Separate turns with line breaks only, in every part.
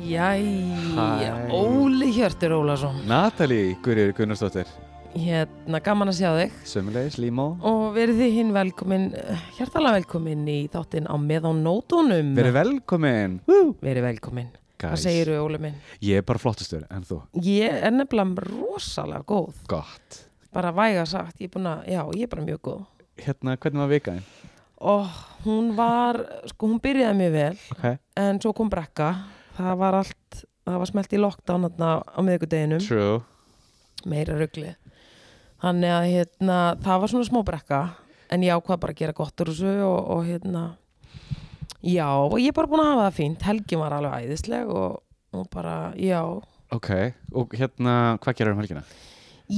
Jæja,
Hæ.
Óli Hjörtur Ólason
Natalie Guðrýr Gunnarsdóttir
Hérna, gaman að sjá þig
Sömmulegis, Límó
Og verið þið hinn velkomin, hjartalega velkomin í þáttinn á með á nótunum
Verið velkomin
Verið velkomin Hvað
Guys,
segirðu Óli minn?
Ég er bara flottastur en þú
Ég er nefnilega rosalega góð
Gott
Bara væga sagt, ég er búin að, já, ég er bara mjög góð
Hérna, hvernig var vikaðin?
Og hún var, sko hún byrjaði mjög vel
Ok
En svo kom brekka Það var allt, það var smelt í lockdown þarna á miðvikudeginum
True
meira ruggli þannig að hérna, það var svona smá brekka en ég ákvað bara að gera gott úr þessu og, og hérna já, og ég er bara búin að hafa það fínt helgin var alveg æðisleg og, og bara, já
Ok, og hérna, hvað gerir um helgina?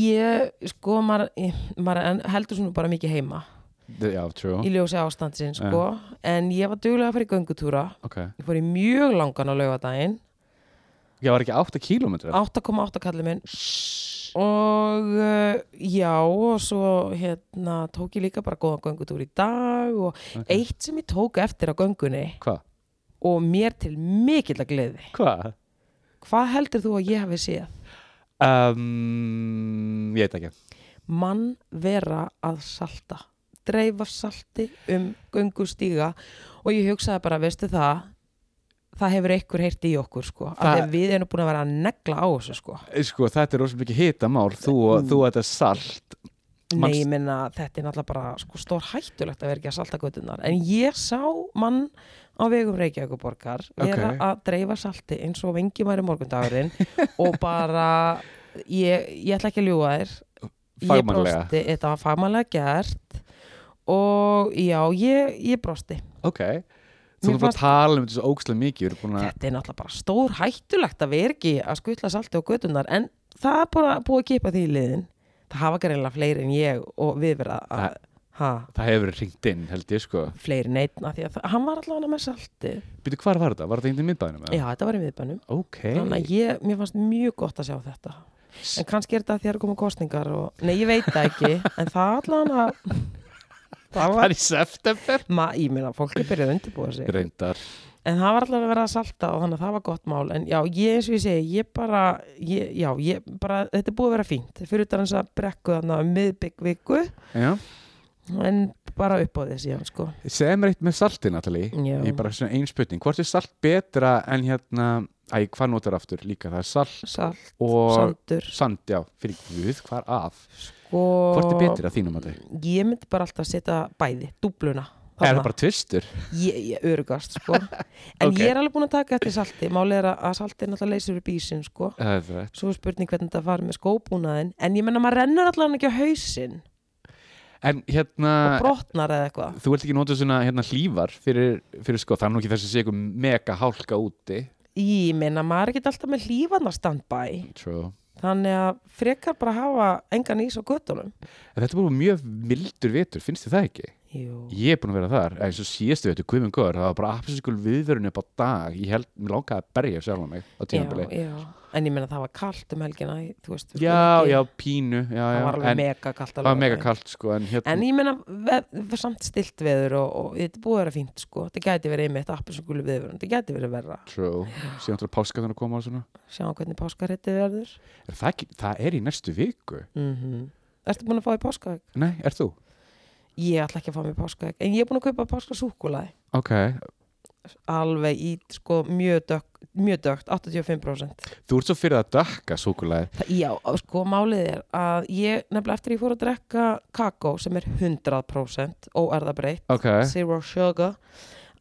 ég, sko, maður, ég- maður en- heldur svona bara mikið heima
D já, true
í ljósi ástandsinn, sko en ég var duglega að fara í göngutúra
Ok
ég fór í mjög langan á laugadaginn
Ég var ekki 8 kílómetrar
8,8 kallið minn og uh, já og svo hérna tók ég líka bara góðan göngutúr í dag og eitt sem ég tók eftir á göngunni
Hvað?
og mér til mikill að gleði
Hvað?
hvað heldur þú að ég hafi séð
Um, ég veit ekki
mann vera að salta dreifa salti um göngustíga og ég hugsaði bara veistu það það hefur einhver heyrt í okkur sko Af
Það-
því að við erum búin að vera að negla á þessu sko
Sko, þetta er rosalega mikið hitamál Þú, mm. þú þetta er salt
Nei,
Manst-
ég minna, þetta er náttúrulega bara sko, stór hættulegt að vera ekki að salta göttunar en ég sá mann á vegum Reykjavíkuborgar vera
Ok.
að dreifa salti eins og vengi væri morgundagurinn og bara ég, ég ætla ekki að ljúga þér ég
Fagmannlega.
brosti, þetta var fagmannlega gert og já, ég, ég brosti
Ok Þú
Mér
erum bara
fannst-
að tala um þessu ógstlega mikið Við erum búin að
þetta er náttúrulega bara stór hættulegt að vera ekki að skutla salti á göttunar en það er bara búið að kipa því í liðin það hafa greinlega fleiri en ég og við vera að ha,
Það hefur verið hringt inn, held ég sko
fleiri neitna því að það- hann var allavega með salti
Býtu, hvar var þetta? Var þetta einnig miðbænum? eða?
já, þetta var í miðbænum
Ok
þannig að ég, mér fannst mjög gott að sjá þetta en kannski er þetta því að það eru komið kostningar og, nei, ég veit það ekki, en það allavega það
Það
var
er í september
Ma, ég meina, fólk er byrjað að undirbúa sig
Reyndar
en það var allavega að vera að salta og þannig að það var gott mál en já, ég eins og ég segi, ég bara ég, já, ég bara, þetta er búið að vera fínt fyrir utan þess að brekku þannig að miðbygg viku
Já
en bara upp á þessi, já, sko
Segð mér eitt með salti, Natalie
Já.
Ég er bara svona ein spurning Hvort er salt betra en hérna Æ, hvað notar aftur líka? Það er salt
salt,
og
sandur
Sand, já, fyrir guð, hvað er af?
og
Hvort er betra að þínum að þig?
ég myndi bara alltaf setja bæði, dúbluna
Er það bara tvistur?
ég, ég örugast sko. en
Ok.
ég er alveg búin að taka eftir salti málið er að- að salti náttúrulega leysur upp ísin sko.
Öðvöld.
svo er spurning hvernig þetta farið með skóbúnaðin en ég menna maður rennur allavega ekki á hausinn
En hérna,
og brotnar eða eitthvað
þú ert ekki notað svona hérna, hlývar fyrir, fyrir sko, það er nú ekki þess að sé eitthvað mega hálka úti.
ég menna maður er ekki alltaf með lífarnar standbæ
True.
þannig að frekar bara hafa engan ís á göttunum
En þetta er bara mjög mildur vetur, finnst þið það ekki?
Jú.
Ég er búin að vera þar, eins og síðastu vetur, guðminn góður, það var bara absolutt viðvörun upp á dag, ég held, mér langaði að berja sjálf á mig á
Já,
tímabili.
já. en ég menna það var kalt um helgina þú veist, við
Já,
skulum ekki-
já, pínu, já,
það
já,
var alveg
en
mega kalt
það var mega kalt sko, en hérna,
En ég meina, veð- veð- samt stilt veður og, og þetta er búið að vera fínt sko, þetta gæti verið einmitt appisugulu viður, þetta gæti verið verra
true, síðan til að páska þannig að koma og svona.
sjáum hvernig páskaréttið verður
Er það, ekki, það er í næstu viku.
mm Ertu búin að fá í páskaðeg?
Nei, er þú?
Ég ætla ekki að fá mér páskaðeg, en ég er búin að kaupa páskasúkulaði,
Ok,
alveg í sko mjög dögt, mjög dögt 85%
þú ert svo fyrir að dökka súkulæði.
Það, Já, og sko málið er að ég, nefnilega eftir ég fór að drekka kakó sem er 100% óerðabreitt
Ok,
Zero Sugar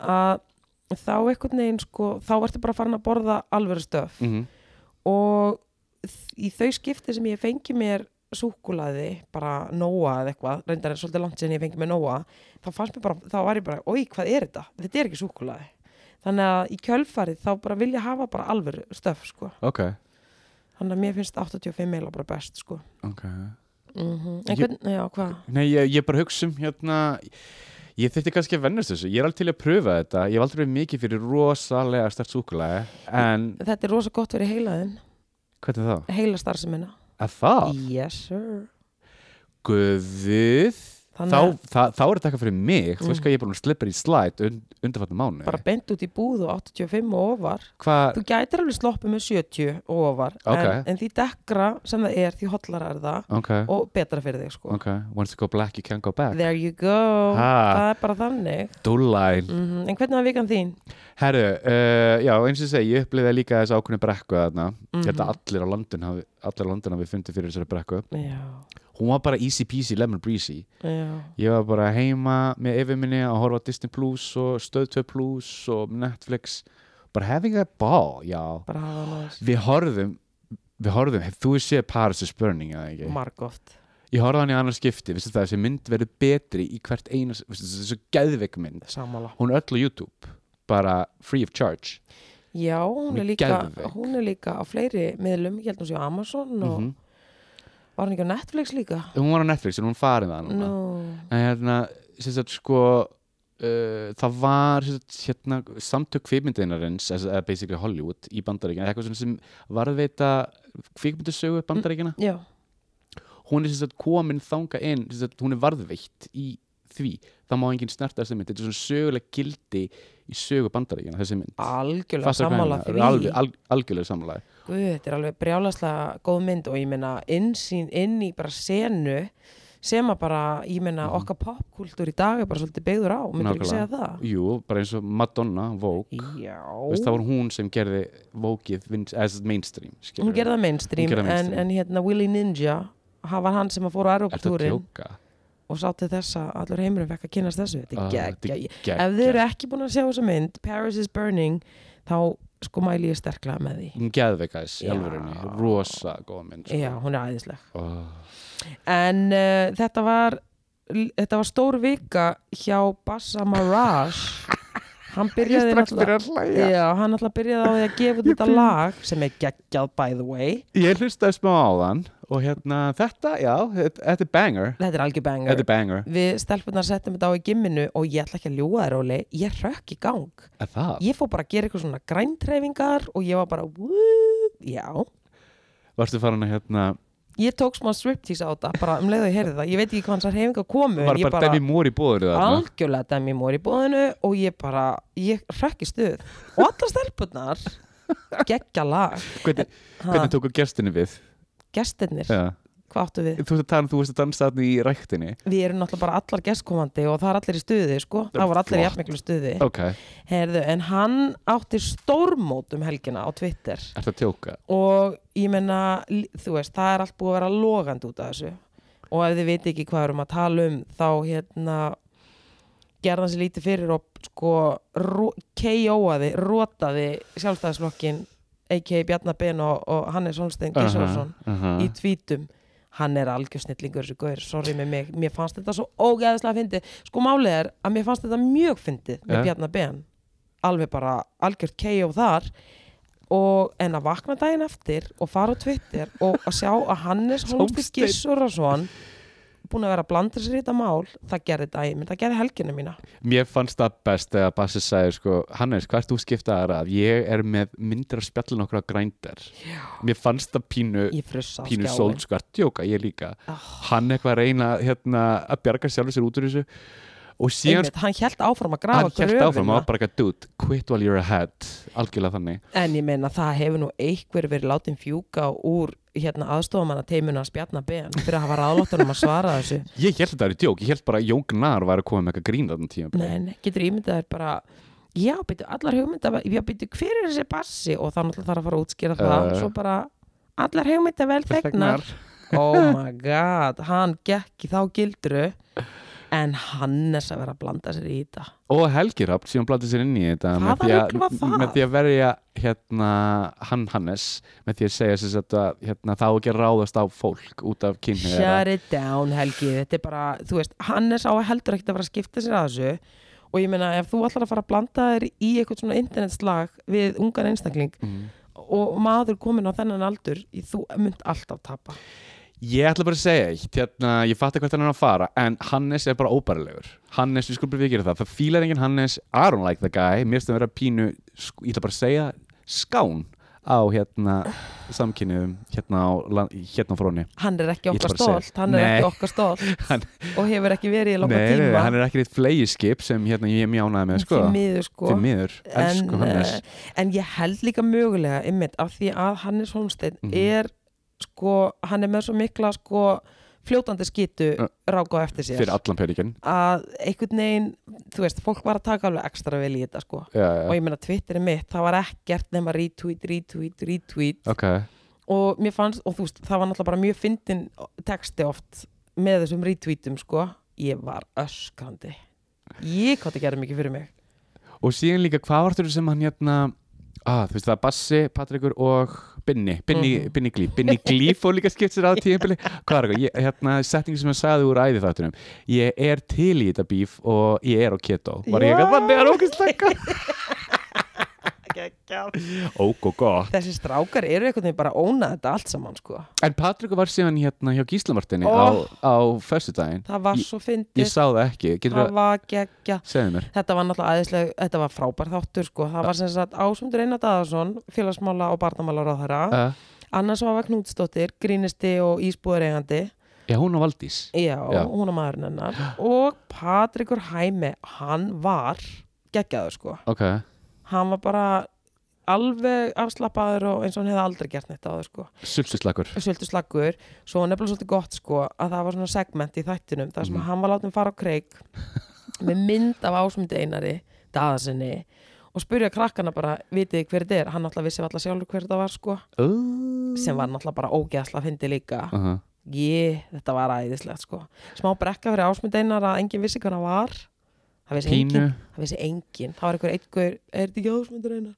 að þá einhvern veginn sko, þá ertu bara farin að borða alvöru stöf
mm
og þ- í þau skipti sem ég fengi mér súkulaði, bara nóa eða eitthvað, reyndar er svolítið langt sinni ég fengi mér nóa þá fannst mér bara, þá var ég bara oi, hvað er þetta? Þetta er ekki súkulaði þannig að í kjölfarið þá bara vil ég hafa bara alvöru stöf sko
ok,
þannig að mér finnst 85 eila bara best sko
ok.
mm -hmm. en
Ég-
hvernig, já, hvað?
Nei, ég, ég bara hugsa um hérna Ég þyrfti kannski að vennast þessu, ég er alveg til að pröfa þetta Ég hef aldrei verið mikið fyrir rosalega stert súkulega En
Þetta er rosa gott fyrir heilaðin,
hvernig þá?
heila starfsemina.
Að það?
Yes, sir.
Guðið
Þannig
þá,
að-
það, þá er þetta eitthvað fyrir mig Þú veist
Mm.
hvað ég er búin að slippa í slæt und, undanfarnar mánu
Bara beint út í búð og 85 og ofar.
Hvað,
Þú gætir alveg sloppið með 70 og ofar.
Ókei.
En, en því dekkra sem það er, því hotlara er það
ok,
og betra fyrir þig, sko.
ok Once you go black you can't go back
There you go.
Ha.
Það er bara þannig.
Dúlæn
Mm En hvernig var vikan þín?
Herru, uh, já, eins og ég segi, ég upplifði líka þessi ákveðni brekku þarna. Ég held
Mhm.
að allir á landin hafi, allir á landin hafi fundið fyrir þessari brekku.
Já,
Hún var bara easy peasy, lemon breezy.
já.
Ég var bara heima með yfir minni að horfa á Disney Plus og Stöð 2 Plus og Netflix. Bara having a ball, já.
Bara hafa það næst.
Við horfðum, við horfðum, hef þú séð Paris is Burning eða ekki?
Margóft.
Ég horfði á hann í annar skipti, vissi það, þessi mynd verður betri í hvert einas, vissi það, þessi geðveik mynd.
Samála.
Hún er öll á YouTube, bara free of charge.
Já, hún
Hún
er
er
líka,
geðveik.
hún er líka á fleiri miðlum, ég held hún sé á Amazon og
Mhm.
var hún ekki á Netflix líka?
hún var á Netflix en hún farið það núna
Nú,
en hérna, sem sagt sko uh, það var sem sagt, hérna, samtök kvikmyndinarins eða basically Hollywood í bandaríkina eitthvað svona sem varðveita kvikmyndasögu bandaríkina,
já,
hún er sem sagt komin þanga inn, sem sagt, hún er varðveitt í því, það má enginn snerta þessi mynd þetta er svona söguleg gildi í sögu bandaríkina, þessi mynd
algjörlega
Fastar hvað ég
sammála
meina?
því.
Alveg- alg- algjörlega sammála
Guð, þetta er alveg brjálaslega góð mynd og ég meina innsýn inn í bara senu sem að bara, ég meina okkar popkultúr í dag er bara svolítið beigður á, myndir ekki segja
Mhm. Nákvæmlega.
það?
jú, bara eins og Madonna, Vogue
Já.
Veist, það var hún sem gerði Vókið as mainstream skilurðu.
Hún gerði það mainstream,
Hún gerði það
en,
mainstream.
en hérna Willy Ninja, hann var hann sem að fór á
Ertu að
Aeroptúrin
tjóka?
og sá til þess að allur heimurinn fekk að kynast þessu þetta
Ah,
er geggja Ég-
þetta er
ef þið eru ekki búin að sjá þessa mynd Paris is Burning þá sko mæli ég sterklega með því
Hún geðveik aðeins í
Já.
alvörunni Rosa góða mynd sko.
já, hún er æðisleg
oh.
en uh, þetta var þetta var stór vika hjá Bassa Maraj hann byrjaði náttúrulega
að hlæja
já, hann alltaf byrjaði á því að gefa út þetta lag sem er geggjað by the way
Ég hlustaði smá á þann Og hérna þetta, já, þetta þetta er banger
þetta er algjör banger
Þetta er banger
við stelpunar settum þetta á í gimminu og ég ætla ekki að ljúga þér Óli, ég rökk í gang
Er það?
ég fór bara að gera eitthvað svona græntreifingar og ég var bara "Woo." já,
Varstu farin að hérna
ég tók smá striptease á þetta bara um leið og ég heyrði það, ég veit ekki hvað hans reyfingar komu en
Var
ég
bara Demi Moore í bóður þarna
algjörlega Demi Moore í bóðinu og ég bara, ég hrökk í stuð og allar stelpunar geggja lag
Hvernig,
Ha,
hvernig tóku gestinu við?
gestirnir,
Já.
hvað áttu við?
Þú veist að tala, þú veist að dansa þarna í ræktinni
við erum náttúrulega bara allar gestkomandi og það er allir í stuði sko,
Það er
það voru allir í
flott.
jafnmiklu stuði
Ok,
Herðu, en hann átti stórmót um helgina á Twitter
ertu að tjóka?
og ég menna, þú veist, það er allt búið að vera logandi út af þessu og ef þið veit ekki hvað við erum að tala um þá hérna gerða hans lítið fyrir og sko ro- KO-aði, rótaði sjálfstæðisflokkin a.k.a. Bjarnar Ben og, og Hannes Holstein Gissvarsson
uh
í tvítum hann er algjör snillingur þessu gaur, sorry með mig mér fannst þetta svo ógeðslega fyndið sko málið er að mér fannst þetta mjög fyndið með
Ja.
Bjarnar Ben alveg bara algjört KO þar og en að vakna daginn eftir og fara á Twitter og að sjá að Hannes Holmsteinn
Hólmsteinn.
Gissurasson búin að vera að blanda sér í þetta mál það gerði daginn, minn, það gerði helginu mína
Mér fannst það best þegar Bassi sagði sko, Hannes, hvað ert þú skiptaðar að ég er með myndir að spjalla nokkra grændar Mér fannst það pínu
ég frussa á
pínu
skjáin
sóld sko, að djóka, ég líka
Ah.
Hann eitthvað að reyna hérna, að bjarga sjálfur sér út úr þessu og síðan sko,
Einmitt, hann hjælt áfram að grafa
hann kert áfram
gröfina
og var bara eitthvað dude, quit while you're ahead algjörlega þannig
en ég meina það hefur nú einhver verið látin fjúka úr hérna aðstofamanna teimuna að spjarna ben fyrir að hafa ráðlóttunum að svara þessu
Ég held þetta er djók, ég held bara að Jógnar var að koma með eitthvað grín þarna um tíma
Nei, nei, getur ímyndað þér bara já, byrju, allar hugmynda já, byrju, hver er þessi bassi og þá náttúrulega þarf að fara að útskýra það
Eh.
svo bara, allar hugmynda vel þegnar oh my god, hann gekk í þá gildru en Hannes að vera að blanda sér í þetta
og Helgi Rapp sem blandið sér inn í þetta
Hvaða
með því,
rugl var það?
að, með því að verja hérna, hann Hannes með því að segja sér þetta hérna, þá ekki að ráðast á fólk út af kynni
Shut it down Helgi Þetta er bara, þú veist, Hannes á heldur ekkert að fara að skipta sér að þessu og ég meina ef þú ætlar að fara að blanda þér í eitthvað svona internetslag við ungan einstakling
Mhm.
og maður komin á þennan aldur þú mynd alltaf tapa
Ég ætla bara að segja eitt, hérna, ég fatt hvert hann er að fara, en Hannes er bara óbærilegur. Hannes, við skulum bara við gera það, það fílar enginn Hannes, I don't like the guy, mér finnst það að vera pínu, sk- ég ætla bara að segja, skán á hérna samkynniðum, hérna á, land- hérna á fróni.
hann er ekki
Ég ætla
okkar
bara að segja-
stólt hann er
Nei.
ekki okkar stólt
Hann-
og hefur ekki verið í
Nei,
langa
nei,
tíma
hann er ekki eitt fleigiskip sem hérna ég er mjánaði með, sko.
því miður sko
Því miður, elsku
en,
Hannes.
eh, en ég held líka mögulega einmitt af því að Hannes Holmsteinn
Mhm.
er sko, hann er með svo mikla sko fljótandi skýtu
Ja.
ráka á eftir sér
Fyrir allan peningin.
að einhvern veginn, þú veist, fólk var að taka alveg ekstra vel í þetta sko
Já,
og
já,
ég meina Twitter er mitt, það var ekkert nema retweet, retweet, retweet
ok.
og mér fannst, og þú veist, það var náttúrulega bara mjög fyndin texti oft með þessum retweetum sko ég var öskrandi ég hvað það gerði mikið fyrir mig
Og síðan líka, hvað var þurfið sem hann hérna ah, þú veist það, er Bassi, Patrikur og Binni, Binni,
Mhm.
Binni Glíf Binni Glíf og líka skipt sér á tíðanbili hvað er eitthvað, Ég- hérna setning sem ég sagði úr æði þáttunum, ég er til í þetta bíf og ég er á keto var ég
Já.
eitthvað, þannig er ógæst slækka
Gekka.
óg og gott,
þessi strákar eru einhvern veginn bara að óna þetta allt saman sko
en Patrikur var síðan hérna hjá Gíslamartinni
Oh.
á, á föstudaginn,
það var
Ég-
svo
ég
fyndið, sko.
sá það ekki getur
það
það,
var geggja
segðu mér
þetta var náttúrulega aðeinslega, þetta var frábær þáttur sko, það var sem sagt Ásundur Einar Daðarsson félagsmála og barnamála ráðherra
uh,
annars var Knútsdóttir, grínisti og ísbúðareigandi
já, hún og Valdís
já,
Já.
hún er maðurinn hennar og Patrikur Hæmi, hann var geggjaður sko,
ok,
hann var bara alveg afslappaður og eins og hann hefði aldrei gert neitt á þau sko
sultuslakur
svolítið slaggur svo var nefnilega svolítið gott sko að það var svona segment í þættinum þar sem
Mhm.
hann var látið fara á kreik með mynd af ásmundi einari daðasinni og spurja krakkana bara, vitið þið hver þetta er hann náttúrulega vissi alltaf sjálfur hver þetta var sko sem var náttúrulega bara ógeðsla fyndi líka
uh -huh.
ég, þetta var æðislegt sko smá brekka fyrir ásmundi einar að enginn vissi hvað hann var það vissi enginn
pínu,
það vissi enginn, það var einhver einhver, er þetta ekki ásmundur einar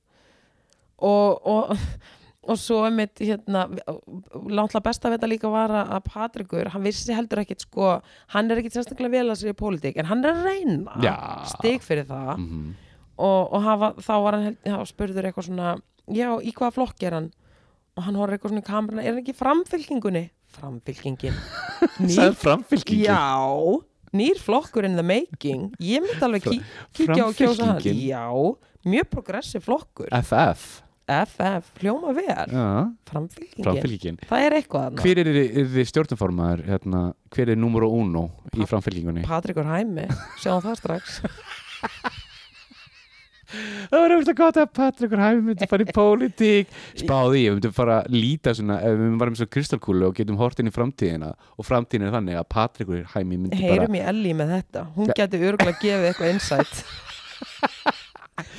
og, og, og svo einmitt hérna, langtla besta við þetta líka var að að Patrikur, hann vissi heldur ekkit sko, hann er ekkit sérstaklega vel að sér í pólitík, en hann er að reyna
Já.
stig fyrir það
mm -hmm.
og, og hafa, þá var hann held, já, spurður eitthvað svona, já, í hvaða flokk er hann og hann horfði eitthvað svona í kameruna er hann ekki í framfylkingunni? Framfylkingin
sagði framfylkingin
Já, nýr flokkur in the making Ég myndi alveg kí kíkja á og kjósa hann
Framfylkingin.
Já, mjög progressiv flokkur
FF
FF, hljóma vel
Já,
Framfylkingin,
framfylkingin
það er eitthvað þarna
Hver er, er þið stjórnumformaður, hérna, hver er numero uno í
Pat-
framfylkingunni?
Patrikur Hæmi, sjáum það strax
Það var auðvitað gott að Patrikur Hæmi myndi fara í pólitík Spáði, ég myndi fara að líta svona, ef við varum svo kristalkúlu og getum hort inn í framtíðina og framtíðin er þannig að Patrikur Hæmi myndi bara
Heyrum í Ellie með þetta Hún geti örgulega gefið eitthvað insight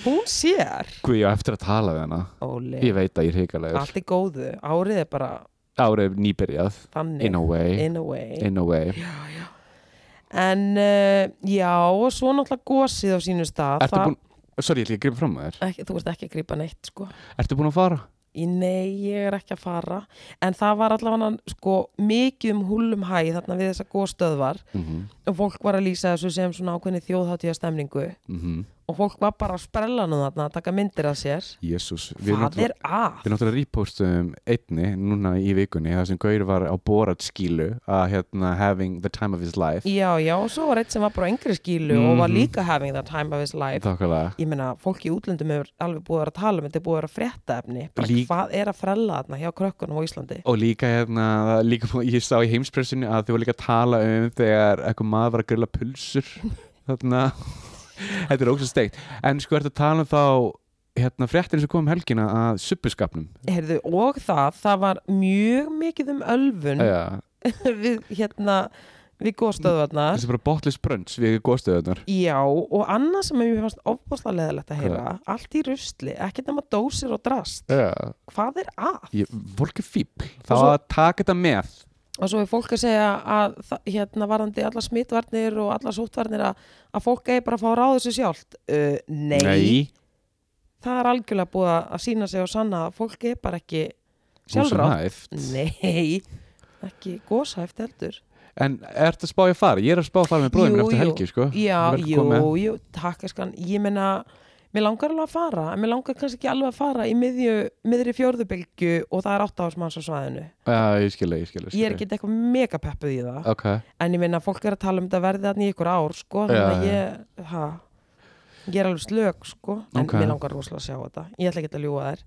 Hún sér
Guð, ég á eftir að tala við hana
Óli,
Ég veit að ég er heikalegur
allt í góðu Árið er bara
Árið nýbyrjað,
þannig
in a way
In a way.
In a way
já, já. En uh, já, og svo náttúrulega gósið á sínum stað
Ertu búin, sorry, ég ætla ekki að gripa fram að þér
ekki, Þú ert ekki að grípa neitt sko
Ertu búin að fara?
Í nei, ég er ekki að fara En það var allavega sko mikið um húlum hæ þarna við þessa góstöðvar
Mm -hmm.
og fólk var að lýsa þessu sem svona ákveðni þjóðháttíða stemningu
mhm.
og fólk var bara að sprella nú þarna að taka myndir af sér
Jésús
Hvað er að?
Við náttúrulega repostum einni núna í vikunni þar sem Gaur var á borat skílu að hérna having the time of his life
Já, já, og svo var eitt sem var bara á yngri skílu og var
Mhm.
líka having that time of his life
þákkalega
ég meina, fólk í útlöndum hefur alveg búið að vera að tala um þetta er búið að vera að frétta efni bara
Lík-
hvað er að frella þarna hjá krökkunum á Íslandi
og líka hérna, líka, ég sá í heimspressinu að þau voru líka að tala um þegar eitthvað maður var að grilla pulsur þarna þetta er ógst steikt en sko ertu að tala um þá hérna fréttin sem kom um helgina að subbuskapnum
Heyrðu, og það, það var mjög mikið um ölfun
Já,
við hérna við góðstöðvarnar
þessi bara botless brunch við góðstöðunar
já, og annað sem mér fannst ofbúðslega leðilegt að heyra allt í rusli, ekki nema dósir og drast
Já,
hvað er að?
ég, fólk er fíbl
Og
það
svo-
var að taka þetta með
og svo er fólk að segja að það- hérna varðandi alla smittvarnir og alla sóttvarnir að, að fólk eigi bara að fá að ráða þessu sjálft uh, það er algjörlega búið að sína sig og sanna að fólk er bara ekki sjálfrátt.
Húsanæft.
Nei, ekki gósæft heldur.
En ertu að spá ég að fara? Ég er að spá að fara með bróðum minn
Jú,
eftir
jú.
helgi, sko
Já,
Verður
jú,
komið.
jú, takk eskan. Ég meina, mér langar alveg að fara en mér langar kannski ekki alveg að fara í miðju, miðri fjórðubilgju og það er átt ásmanns á svæðinu
Já, ég skilja, ég skilja
ég er ekki eitthvað mega peppuð í það
Ok,
en ég minna að fólk er að tala um þetta verði þarna í ykkur ár sko, þannig
Já,
að
já.
ég ha, ég er alveg slök sko, en
Ok.
mér langar rosalega að sjá þetta ég ætla ekki að ljúga þær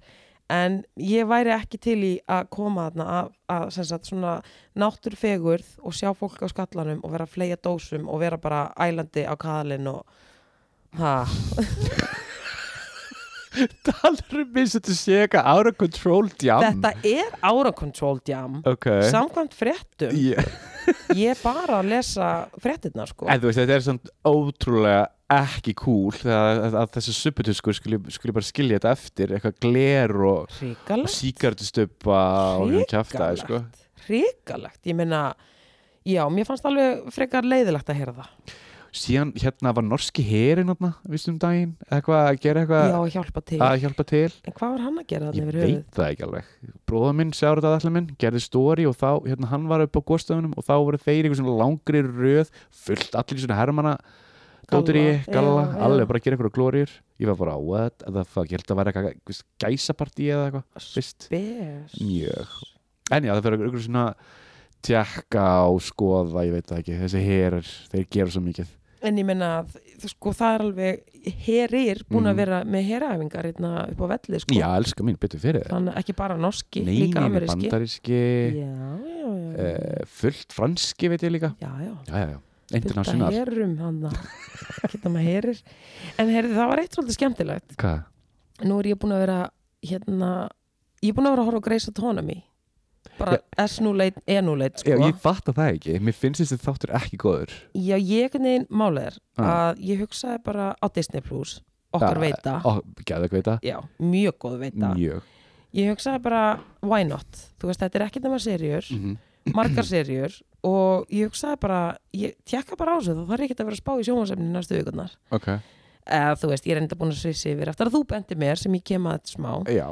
en ég væri ekki til í að koma þarna að, að sem sagt svona náttúrfegurð og sjá fólk á skallanum og vera að fleia dósum og vera bara ælandi á kaðalinn og ha,
Talar um eins og þetta sé eitthvað out of control jam
þetta er ára control jam
Ok
samkvæmt fréttum
Ég-
ég er bara að lesa fréttirnar sko
En þú veist, þetta er svona ótrúlega ekki cool að, að, að þessi supputuskur skuli, skuli bara skilja þetta eftir eitthvað gler og
hrikalegt
síkartustöpa og hún kjafta sko.
hrikalegt, ég meina já, mér fannst alveg frekar leiðilegt að heyra það
síðan hérna var norski herin vissum um daginn, eitthvað að gera eitthvað
já, hjálpa til,
að hjálpa til
en hvað var hann að gera
ég
þannig yfir höfuð?
veit það ekki alveg bróða minn, sjáur þetta allir minn, gerði stóri og þá, hérna hann var upp á góðstöðunum og þá voru þeir einhver svona langri röð fullt allir í svona hermana dóttir í,
Galla,
galla,
já, já.
alveg bara að gera einhverja glóriur ég var bara, what the fuck, ég held að vera eitthvað gæsapartí eða eitthvað, veist
Bes.
Mjög. en já, það fyrir einhverju svona tjekka og skoða, ég veit það ekki þessi herar, þeir gera svo mikið
en ég meina, þ- sko, það er alveg herir búin
Mhm.
að vera með heræfingar hérna upp á velli, sko
já, elska mín, betur fyrir það
þannig ekki bara norski,
neini,
líka ameríski já,
bandaríski
já, já
eh, fullt franski veit ég líka
já, já
já, já, já,
Þetta
international
herum hann Geta maður herir En heyrðu, það var eitt svolítið skemmtilegt
hvað?
nú er ég búin að vera hérna, ég er búin að vera að horfa á Grey's Autonomy bara S-núleit, E-núleit
Já,
sko.
ég fatt að það ekki, mér finnst þessi þáttur ekki góður
já, ég ekki neginn málið er
Ah.
að ég hugsaði bara á Disney Plus okkar
Ah,
veita,
Ó, Gæðveg veita,
já, mjög góð veita
mjög
ég hugsaði bara, why not þú veist, þetta er ekkert nema serjur
mm
margar serjur og ég hugsaði bara ég tjekka bara á þessu, þá þarf ekki að vera að spá í sjónvarsefni næstu vikunar
Ok,
eða þú veist, ég er enda búin að svissi yfir eftir að þú bendi mér sem ég kem að smá
já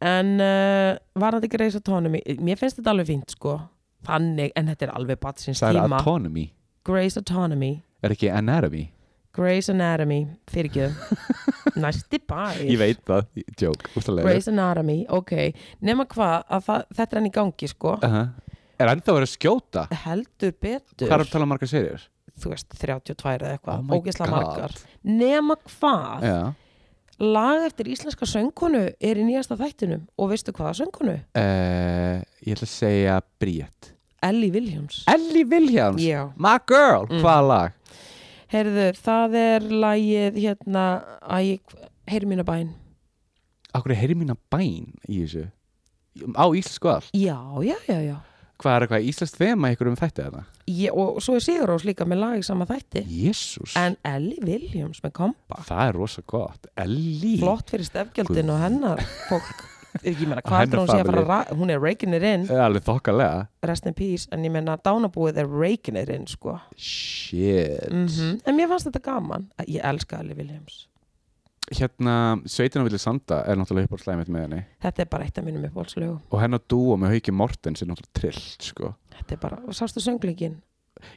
en uh, var þetta ekki reis á tónum mér finnst þetta alveg fínt sko þannig, en þetta er alveg batsins
Það er
tíma
autonomy,
Grey's Autonomy
er ekki anatomy
Grey's Anatomy, fyrirgjöð næsti bæ
Ég veit það, joke, úrstulega
Grey's Anatomy, ok nema hvað, að það, þetta er enn í gangi sko
uh -huh. Er ennþá verið að skjóta?
heldur betur
Eh. Hvað er að tala um margar serjur?
þú veist, 32 eða
Oh
eitthvað,
my
ógeðslega
God. Eh.
margar nema hvað,
Já,
lag eftir íslenska söngkonu er í nýjasta þættinum og veistu hvaða söngkonu?
uh, ég ætla að segja Bríett
Ellie Williams
Ellie Viljáns,
Já
my girl,
Mm.
hvaða lag?
Heyrðu, það er lagið hérna að ég heyri mína bæn.
Akkur er heyri mína bæn í þessu Á íslensku all,
Já, já, já, já.
hvað er eitthvað íslenskt þema ykkur um þetta eða?
Ég, og svo er Sigurós líka með lagið sama þætti.
Jésús
En Ellie Williams með kompa.
Það er rosa gott, Ellie
Flott fyrir stefgjöldin og hennar fólk. Ég meina,
Hennar
hvað er hún sé að fara
family.
að ra- hún er raking it in,
Það er alveg þokkalega
rest in peace, en ég meina dánabúið er raking it in, sko.
Shit
Mm En mér fannst þetta gaman. Ég elska Ellie Williams.
Hérna, Sveitin á vilja sanda er náttúrulega uppáhaldslæmið mitt með henni
Þetta er bara eitt af mínum uppbólslögu.
og hennar dúa með Hauki Mortens er náttúrulega trillt sko.
Þetta er bara, og sástu söngleikin?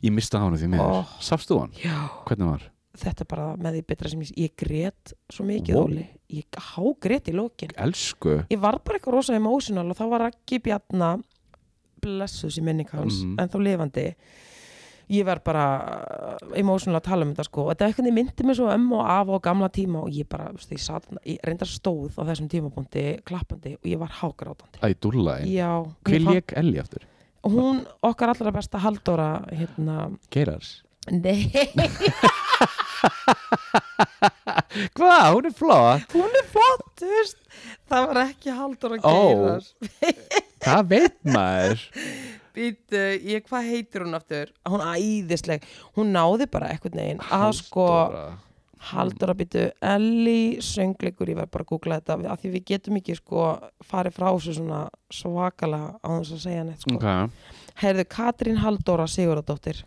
Ég mista hana því miður
Oh.
oh. Sást þú hann?
Já.
Hvernig var?
þetta er bara með því betra sem ég ég grét svo mikið
Vó.
Óli, ég hágrét í lókin
Elsku
ég var bara eitthvað rosa emotional og þá var Raggi Bjarna blessus í minning hans,
Mhm.
en þá lifandi ég var bara uh, emotional að tala um þetta sko, og þetta eitthvað myndi mig svo ömmu og af og gamla tíma og ég bara, veist, ég, sat, ég reyndar stóð á þessum tímapunkti, klappandi og ég var hágrátandi
Æ, dúlla einn
Já,
Hver
mér fann-
lék Ellie aftur?
hún okkar allra besta Halldóra hérna,
Geirars
nei,
Hvað? Hún er flott
hún er flott þú veist, það var ekki Halldóra
Ó.
Geirar
Hvað veit maður?
Býtu, ég, hvað heitir hún aftur? Hún æðisleg, hún náði bara eitthvað neginn að sko
Halldóra.
Halldóra býtu, Ellie söngleikur, ég var bara að googla þetta af því við getum ekki sko farið frá þessu svona svakalega á þess að segja neitt sko.
Ok
Herðu Katrín Halldóra Sigurðardóttir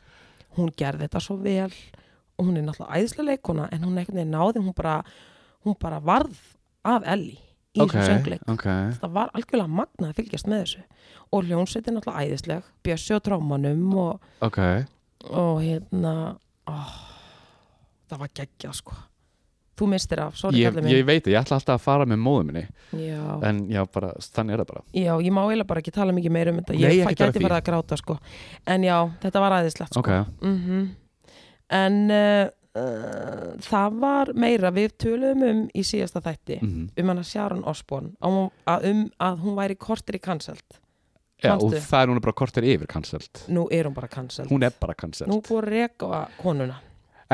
hún gerði þetta svo vel og hún er náttúrulega æðislega leikona en hún eitthvað neginn náði, hún bara hún bara varð af Ellie í
Ok,
þessum söngleik
ok
það var algjörlega magnað að fylgjast með þessu og hljónsveitin alltaf æðisleg Bjössi og trámanum og,
Ok
og hérna ó, það var geggjað sko þú mistir af, sorry
ég,
kallið minn
ég veit það, ég ætla alltaf að fara með móðu minni
já.
en já, bara, þannig er það bara
já, ég má eiginlega bara ekki tala mikið meira um þetta
Nei,
ég
ekki
fa-
tala
gæti
því.
farið að gráta sko en já, þetta var aðeinslegt sko.
ok,
Mhm. en uh, uh, það var meira við töluðum um í síðasta þætti
mm
um hana Sharon Osborn um að, um að hún væri kortir í cancelled
já, og
Manstu?
það er núna bara kortir yfir cancelled
nú er hún bara cancelled
hún er bara cancelled
nú búið að reka konuna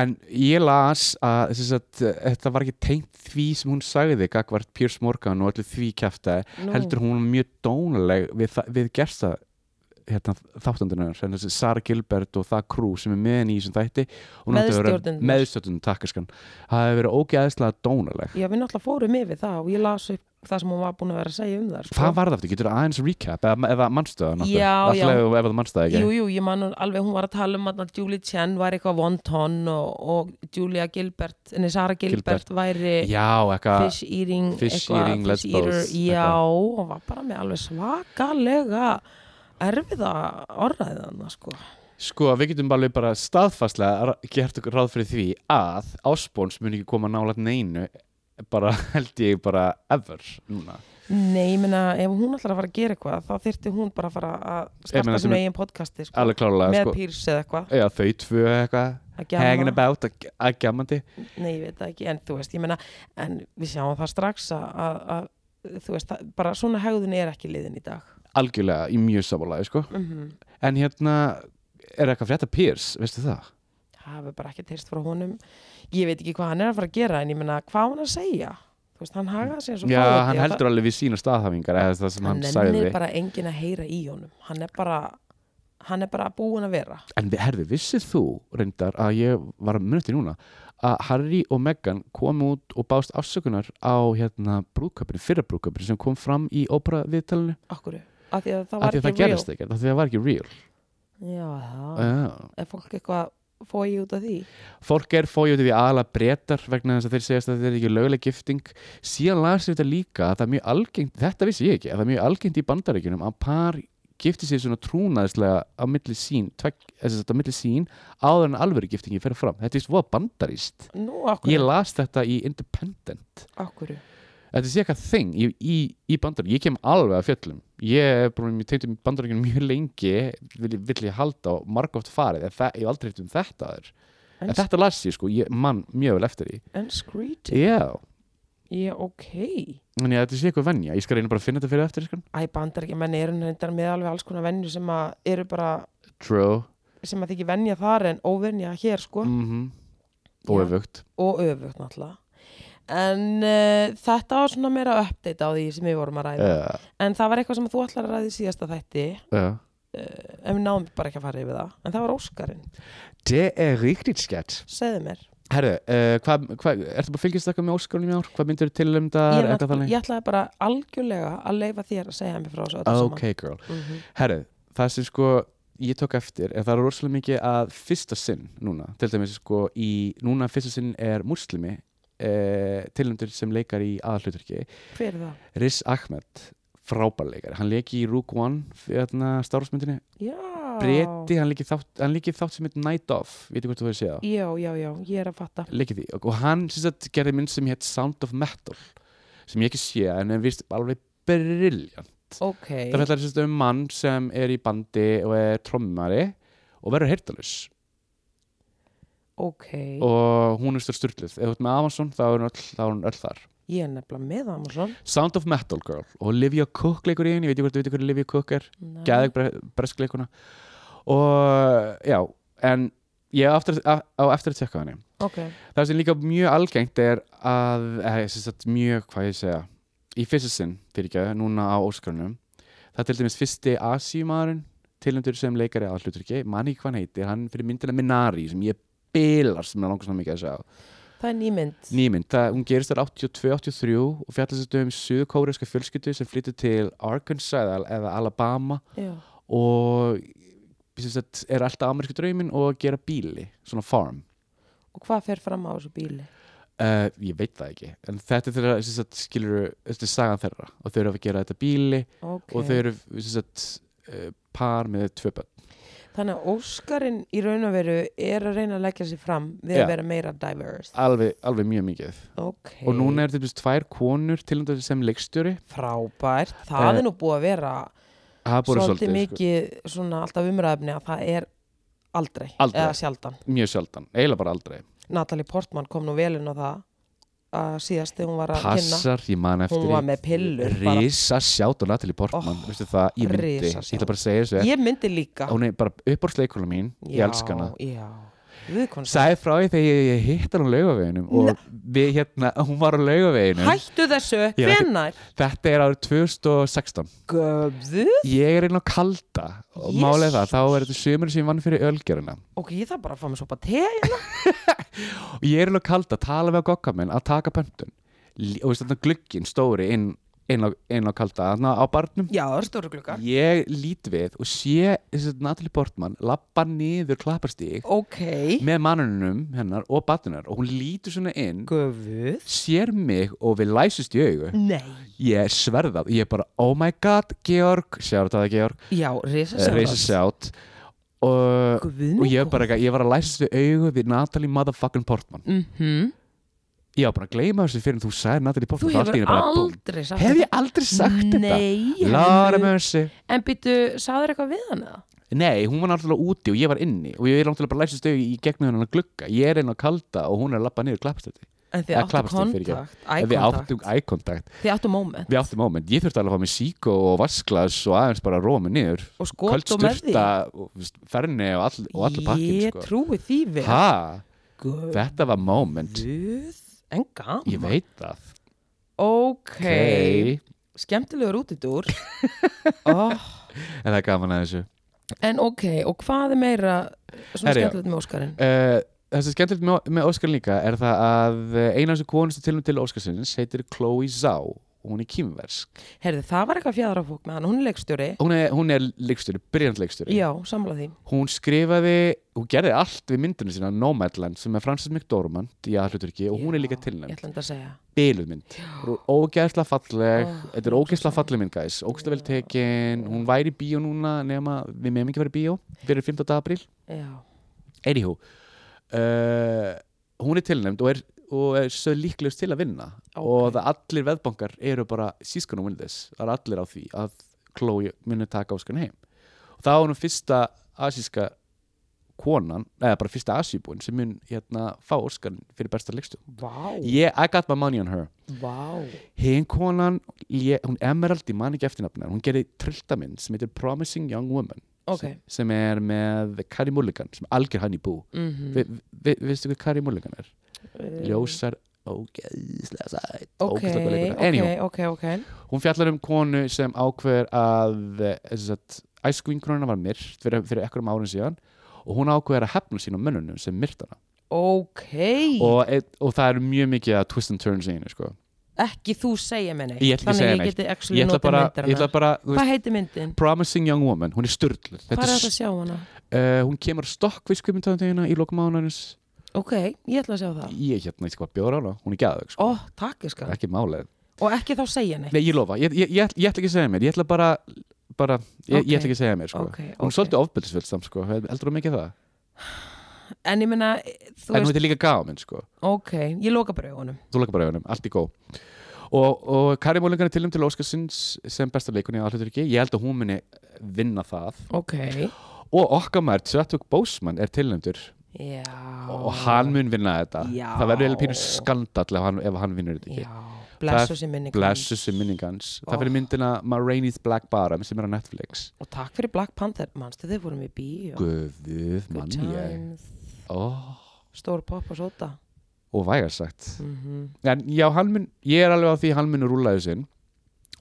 En ég las að, þess að þetta var ekki tengt því sem hún sagði gagvart Piers Morgan og öllu því kæfta
Nú.
heldur hún var mjög dónaleg við, þa- við gersta hérna, þáttandunar, þessi Sara Gilbert og það krú sem er með henni í þessum þætti hún átti að vera-
Meðstjórnendur.
meðstjórnendur takkaskan það hefur verið ógeðslega dónaleg
já, við náttúrulega fórum yfir það og ég las upp það sem hún var búin að vera að segja um það sko.
Hvað var það aftur? Getur það aðeins recap eða, eða mannstu það? náttúrulega?
Já,
Allt í
já.
lagi Ef, ef það mannstu það ekki?
Jú, jú, ég man nú alveg, hún var að tala um að Julie Chen var eitthvað vonton og, og Julia Gilbert, nei, Sara Gilbert, væri
Já, eitthvað
fish eating,
fish
eitthvað,
eating, let's both,
já, og var bara með alveg svakalega erfiða orðaðið sko.
Sko, við getum alveg bara staðfastlega ra- gert okkur ráð fyrir því að Ásbóns mun ekki koma nálægt neinu bara held ég bara ever núna.
Nei, ég meina, ef hún ætlar að fara að gera eitthvað þá þyrfti hún bara að fara að
meina,
starta
sem
sinu
er-
eigin podcasti sko,
Alveg klárlega,
með
sko.
Pírs eða eitthvað
Já, þau tvö eitthvað,
að
hanging
gjamma.
about, að- að gjammandi.
Nei, ég veit það ekki, en þú veist, ég meina en við sjáum það strax að, að, að þú veist, það, bara svona hegðun er ekki liðin í dag
Algjörlega í mjög samanlega, sko.
mm
En hérna, er eitthvað frétta Piers, veistu það?
hafi bara ekki teist frá honum ég veit ekki hvað hann er að fara að gera en ég meina, hvað á hann að segja þú veist, hann hagaði sig eins og
Já,
fáviti
hann
og
heldur alveg við sína staðhafingar eða það sem
það, hann
hann
nennir
sagði.
bara enginn að heyra í honum hann er bara hann er bara búin að vera
En við- herðu, vissið þú reyndar að ég var að munið til núna að Harry og Meghan komu út og bást afsökunar á hérna brúköpinu, fyrra brúköpinu sem kom fram í ópera viðtalinu
okkur, af því að það
af
var
því að það
ekki real
gerðist ekkert, af því að það var ekki real
já, það,
uh,
er fólk eitthvað fóið út af því
Fólk er fóið út í því aðalega breytar vegna þess að þeir segjast að þetta er ekki lögleg gifting síðan las ég þetta líka að það er mjög algengt þetta vissi ég ekki, að það er mjög algengt í bandaríkjunum að par gifti sér svona trúnaðislega á milli sín, tvek, þess að á milli sín áður en alvöru giftingi fer fram þetta er víst voða bandaríst
nú, okkur,
ég las þetta í Independent
okkur
þetta sé eitthvað þing í, í, í bandaríkjum ég kem alveg að fjöllum ég er búin að tegja um bandaríkjum mjög lengi vill, vill ég halda og margóft farið en það- ég hef aldrei hefði um þetta aður
En-
en þetta las ég sko, ég mann mjög vel eftir því
en skrítið,
já,
já, ok
þannig að þetta sé eitthvað venja ég skal reyna bara að finna þetta fyrir eftir sko.
æ, bandar ekki, menn eru reyndar með alveg alls konar venjur sem að eru bara
true,
sem að þykir venja þar en óvenja hér sko
mhm og
Já.
öfugt
og öfugt náttúrulega en uh, þetta var svona meira update á því sem við vorum að ræða
uh,
en það var eitthvað sem þú ætlar að ræða í síðasta þætti
uh.
en við náðum bara ekki að fara yfir það en það var Óskarinn,
det er riktigt skett
segðu mér
herru, uh, hvað, hvað, ertu bara að fylgjast eitthvað með Óskarunum í ár, hvað myndir til um
ég,
það
er náttúrulega- ég ætlaði bara algjörlega að leifa þér að segja mér frá þessu öllu
Ah, ok girl
saman mm
Herrið, það sem sko ég tók eftir er það er rosalega mikið að fyrsta sinn núna, til dæmis sko í, núna fyrsta sinn er muslimi eh, tilnæmdur sem leikar í aðalhlutverki,
hver er það?
Riz Ahmed frábærleikari, hann leiki í Rook One hérna, þarna starfsmyndinni,
já,
Breti hann leiki þátt, hann leiki þátt sem heit Night Off, veitir hvort þú hefur séð það
já, já, já, ég er að fatta
leikið því og og hann sem sagt, gerði mynd sem heit Sound of Metal sem ég ekki sé en er vist alveg briljant
ok,
Það fjallar sérst um mann sem er í bandi og er trommari og verður heyrtalus
ok
og hún er stór styrluð. Ef þú ert með Amazon þá er hún öll, þá er hún öll þar.
ég er nefnilega með Amazon
Sound of Metal Girl og Livia Cook leikur í henni, ég veit ekki hvort þú veitir hverju Livia Cook er,
Nei.
gæðið breskleikuna og já, en ég á eftir, að- á eftir að tekka henni.
ok,
Það sem líka mjög algengt er að, eða, sem sagt, mjög, hvað ég segja, í fyrsta sinn, fyrir ekki, núna á Óskarunum, það er til dæmis fyrsti Asíumaðurinn, tilhendur sem leikari að hluturki, manni hvað hann heitir, hann fyrir myndina Minari, sem ég bilar sem er langar svona mikið að segja á.
það er nýmynd
Nýmynd, það, hún gerist þar 82-83 og fjallast þetta um suðkóreska fjölskyldu sem flyttu til Arkansas eða, eða Alabama
já,
og sem sagt, er alltaf amerísku drauminn og gera bíli, svona farm.
og hvað fer fram á þessu bíli?
Uh, ég veit það ekki, en þetta er þeirra sem sagt, skilur, þetta er sagan þeirra og þau eru að gera þetta bíli
ok,
og þau eru sem sagt, uh, par með tvö börn
Þannig að Óskarinn í raun og veru er að reyna að leggja sér fram við
Já.
að vera meira diverse.
alveg, alveg mjög mikið
Ok.
og núna er þetta tvær konur til þess sem leikstjóri
Frábært. Það
Eh,
er nú búið að vera
það er bara
svolítið,
svolítið, sko.
mikið svona alltaf umræðefni að það er aldrei.
Aldrei.
Eða sjaldan.
Sko, mjög sjaldan, eiginlega bara aldrei
Natalie Portman kom nú vel inn á það að síðast þegar hún var að kynna.
passar, ég man eftir
Hún var með pillur bara.
risa sjátt og Natalie Portman
Oh,
veistu það, ég myndi, ég
risashout.
ætla bara að segja þessu
Ég myndi líka.
hún er bara uppbórsleikuna mín, ég elska hana
Já, já. Viðkvæmst.
sagði frá því þegar ég, ég hitt hann á laugaveginum og við hérna, hún var á laugaveginum
Hættu þessu.
Ég er ekki-
Hvenær?
þetta er árið 2016
Göfðu?
ég er inn á kalda og
Jesus.
málega það, þá er þetta sömur sem ég vann fyrir ölgerina
Ok, ég þarf bara að fá mér sopa te.
og ég er inn á kalda, tala við á gogga minn að taka pöntun L- og veist þarna glugginn stóri inn, inn, á, inn á kalda, þarna á barnum
Já, það eru stóru klukkar.
ég lít við og sé þessi Natalie Portman lappa niður klapparstíg
Ok.
með mannunum hennar og batnunar og hún lítur svona inn
Gufuð?
sér mig og við læsust í augu
Nei.
ég sverðað, ég bara oh my god Georg, sjárat að það Georg
Já, reysa
reysa sjátt og, Eh, og ég, bara, eitthvað- ég var að læsast í augu við Natalie motherfucking Portman
Mm
ég var bara að gleyma þessu fyrir en þú sagði Natalie
Þú
Portman þá allt í
hefur
einu bara, búm.
aldrei sagt
hef ég aldrei sagt þetta
Nei,
Lára
hefur-
Mörsi
En byttu, sagður eitthvað við hana?
Nei, hún var náttúrulega úti og ég var inni og ég er náttúrulega bara læsist augu í gegnum hennar glugga ég er inn á kalda og hún er að lappa niður klappstætti
En þið
Eða
áttu
klappast þið, fyrirgefðu.
kontakt, eye
við
contact,
áttum eye contact
þið áttu moment
við áttum moment, ég þurfti alveg að fá mig síko og vasklas og aðeins bara að róa mig niður
og
Köld
skot og með því
sturta og veist, ferni og, all, og allir pakkin
Ég
sko.
trúi því við
ha,
Guð,
þetta var moment
en gaman
ég veit það
Ok,
okay.
skemmtilegur útidúr oh.
en það er gaman að þessu
En ok, og hvað er meira svona
Herri, já.
skemmtilegt með Óskarinn?
uh, það sem er skemmtilegt með, með Óskar líka er það að eh, eina af þessu konustu tilnum til Óskarsins heitir Chloe Zhao og hún er kýmversk
Herði, það var eitthvað fjæðrafók með hann, hún er leikstjóri
hún er, hún er leikstjóri, byrjant leikstjóri
Já, samla því
hún skrifaði, hún gerði allt við myndinu sína Nomadland sem er Frances McDormand í aðhluturki og hún er
Já,
líka tilnæmt
Ég ætla enda að segja
biluð mynd Hún er ógæðslega falleg
Ó,
þetta er ógæðslega falleg mynd guys ógæðslega vel tekin, hún væri í bíó núna nema við meðum ekki verið í bíó fyrir 15. apríl,
Já,
anywho uh, hún er tilnæmd og er, og er svo líklegust til að vinna
Ok.
og það allir veðbankar eru bara sískanum win this, það er allir á því að Chloe muni taka Óskarinn heim og það var hún fyrsta asíska konan, eða bara fyrsta asíbúin sem mun hérna fá Óskarinn fyrir besta leikstu
vá,
yeah, I got my money on her
vá
hinn konan, ég, hún Emerald ég man ekki eftirnafna, hún gerði trilltaminn sem heitir Promising Young Woman
Ok,
sem, sem er með Carrie Mulligan sem er algjör hann í bú
mhm
vi, vi, veistu hvað Carrie Mulligan er?
Eh,
ljósar ógeðslega sæt
Ok,
ógeðslega góð leikkona.
ok,
Anyhow,
ok, ok
hún fjallar um konu sem ákveður að eh, æskvingrunna var myrt fyrir, fyrir ekkur um árun síðan og hún ákveður að hefna sín á mönnunum sem myrt hana
Ok,
og, eitt- og það er mjög mikið að twist and turns í henni sko.
ekki þú segja minni
Ég ætla ekki að segja
Þannig
neitt.
ég geti actually
ég ætla
notið
bara,
myndar
ég ætla bara þú veist,
Hvað heitir myndin?
Promising Young Woman, hún er styrlu
Hvað
þetta
er
er
þetta að sjá hana?
Uh, hún kemur stokkvist kvikmyndaðina hérna í lokum ánæðins
Ok, ég ætla að sjá það
ég hérna, ég sko að bjóra hana, hún er gæðug
Ah. Ó,
sko.
takk ég skal
ekki málið
Og ekki þá segja neitt
nei, ég lofa, ég, ég, ég, ætl- ég ætla ekki að segja mér ég ætla bara, bara ég,
Ok.
ég ætla ekki að segja mér sko.
Ok,
hún er
ok
svolítið ofbeldisvöld samt sko. heldur hún mikið það
En ég meina, þú
en hún
veist,
heitir líka gámin sko.
ok, ég loka bara augunum
þú lakar bara auðanum, allt í góð og, og Kari Mólingan er tilnum til Óskarsins sem besta leikunni að hlutur ekki ég held að hún muni vinna það
Ok,
og okkar maður, Tjötug Bósmann er tilnumtur
já
og hann mun vinna þetta
Ah. Já.
það verður eiginlega pínu skandall ef hann, ef hann vinnur þetta ekki
Já, Oh. blessu sér minni
blessu sem minningans
Ó.
það fyrir myndina Maraine's Black Bottom sem er á Netflix
Og takk fyrir Black Panther, mannstu þið vorum í bíó
Guðuð
Good
mann ég
times.
oh,
Stór pop og sota
og vægarsagt
mm -hmm.
en já, hann mun, ég er alveg á því að hann mun rúlaðu sinn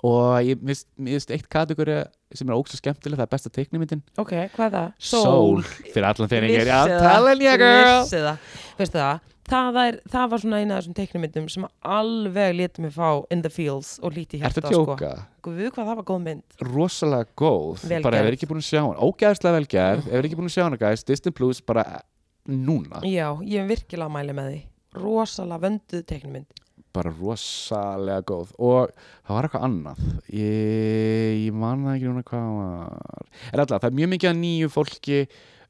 og ég mist, mist eitt kategóri sem er ógst skemmtileg það er besta teiknimyndin
Ok, hvað er það?
fyrir allan þegar ég er
Vissi
að
það,
tala en ég girl
Vissi það, veistu það Það, er, það var svona eina af þessum teiknumyndum sem alveg létu mig fá in the fields og líti hjarta
Ertu að djóka?
sko. Guð hvað það var góð mynd
Rosalega góð
Vel
bara ef
gerð.
er ekki búin að sjá hann, ógæðslega velgerð ef er ekki búin að sjá hann, guys, Disney Plus bara núna Ah.
Já, ég er virkilega að mæli með því Rosalega vönduð teiknumynd
bara rosalega góð og það var eitthvað annað ég, ég man það ekki núna hvað það var en alltaf, það er mjög mikið að nýju fólki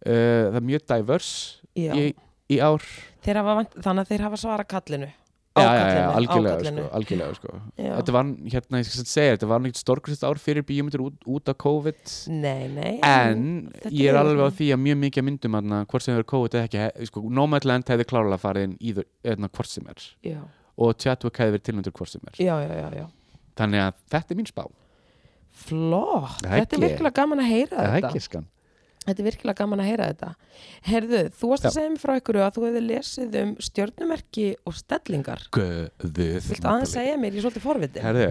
uh, það er mjög diverse
Já.
í, í ár
Þeir hafa, vant- þannig að þeir hafa svara kallinu
Já, já, já,
Ákallinu,
algjörlega,
ákallinu.
sko, algjörlega sko.
Já.
þetta var, hérna, ég skal segja, þetta var neitt storkust ár fyrir bíómyndir út, út af COVID
Nei, nei
en
þetta
ég er
er-
alveg á því að mjög mikið af myndum hana, hvort sem hefur COVID eða ekki he- sko, Nomadland hefði klárlega farið inn í þau hérna, hvort sem er
Já,
og Chadwick hefði verið tilnöndur hvort sem er
já, já, já, já.
þannig að þetta er mín spá
Flott,
Það
þetta er
ekki.
virkilega gaman að heyra
það er
þetta
ekki skan
Þetta er virkilega gaman að heyra þetta Herðu, þú varst að
Já.
segja mér frá ykkur að þú hefði lesið um stjörnumerki og stellingar
Guðuð
Viltu aðeins segja mér, ég er svolítið forvitið
Herðu,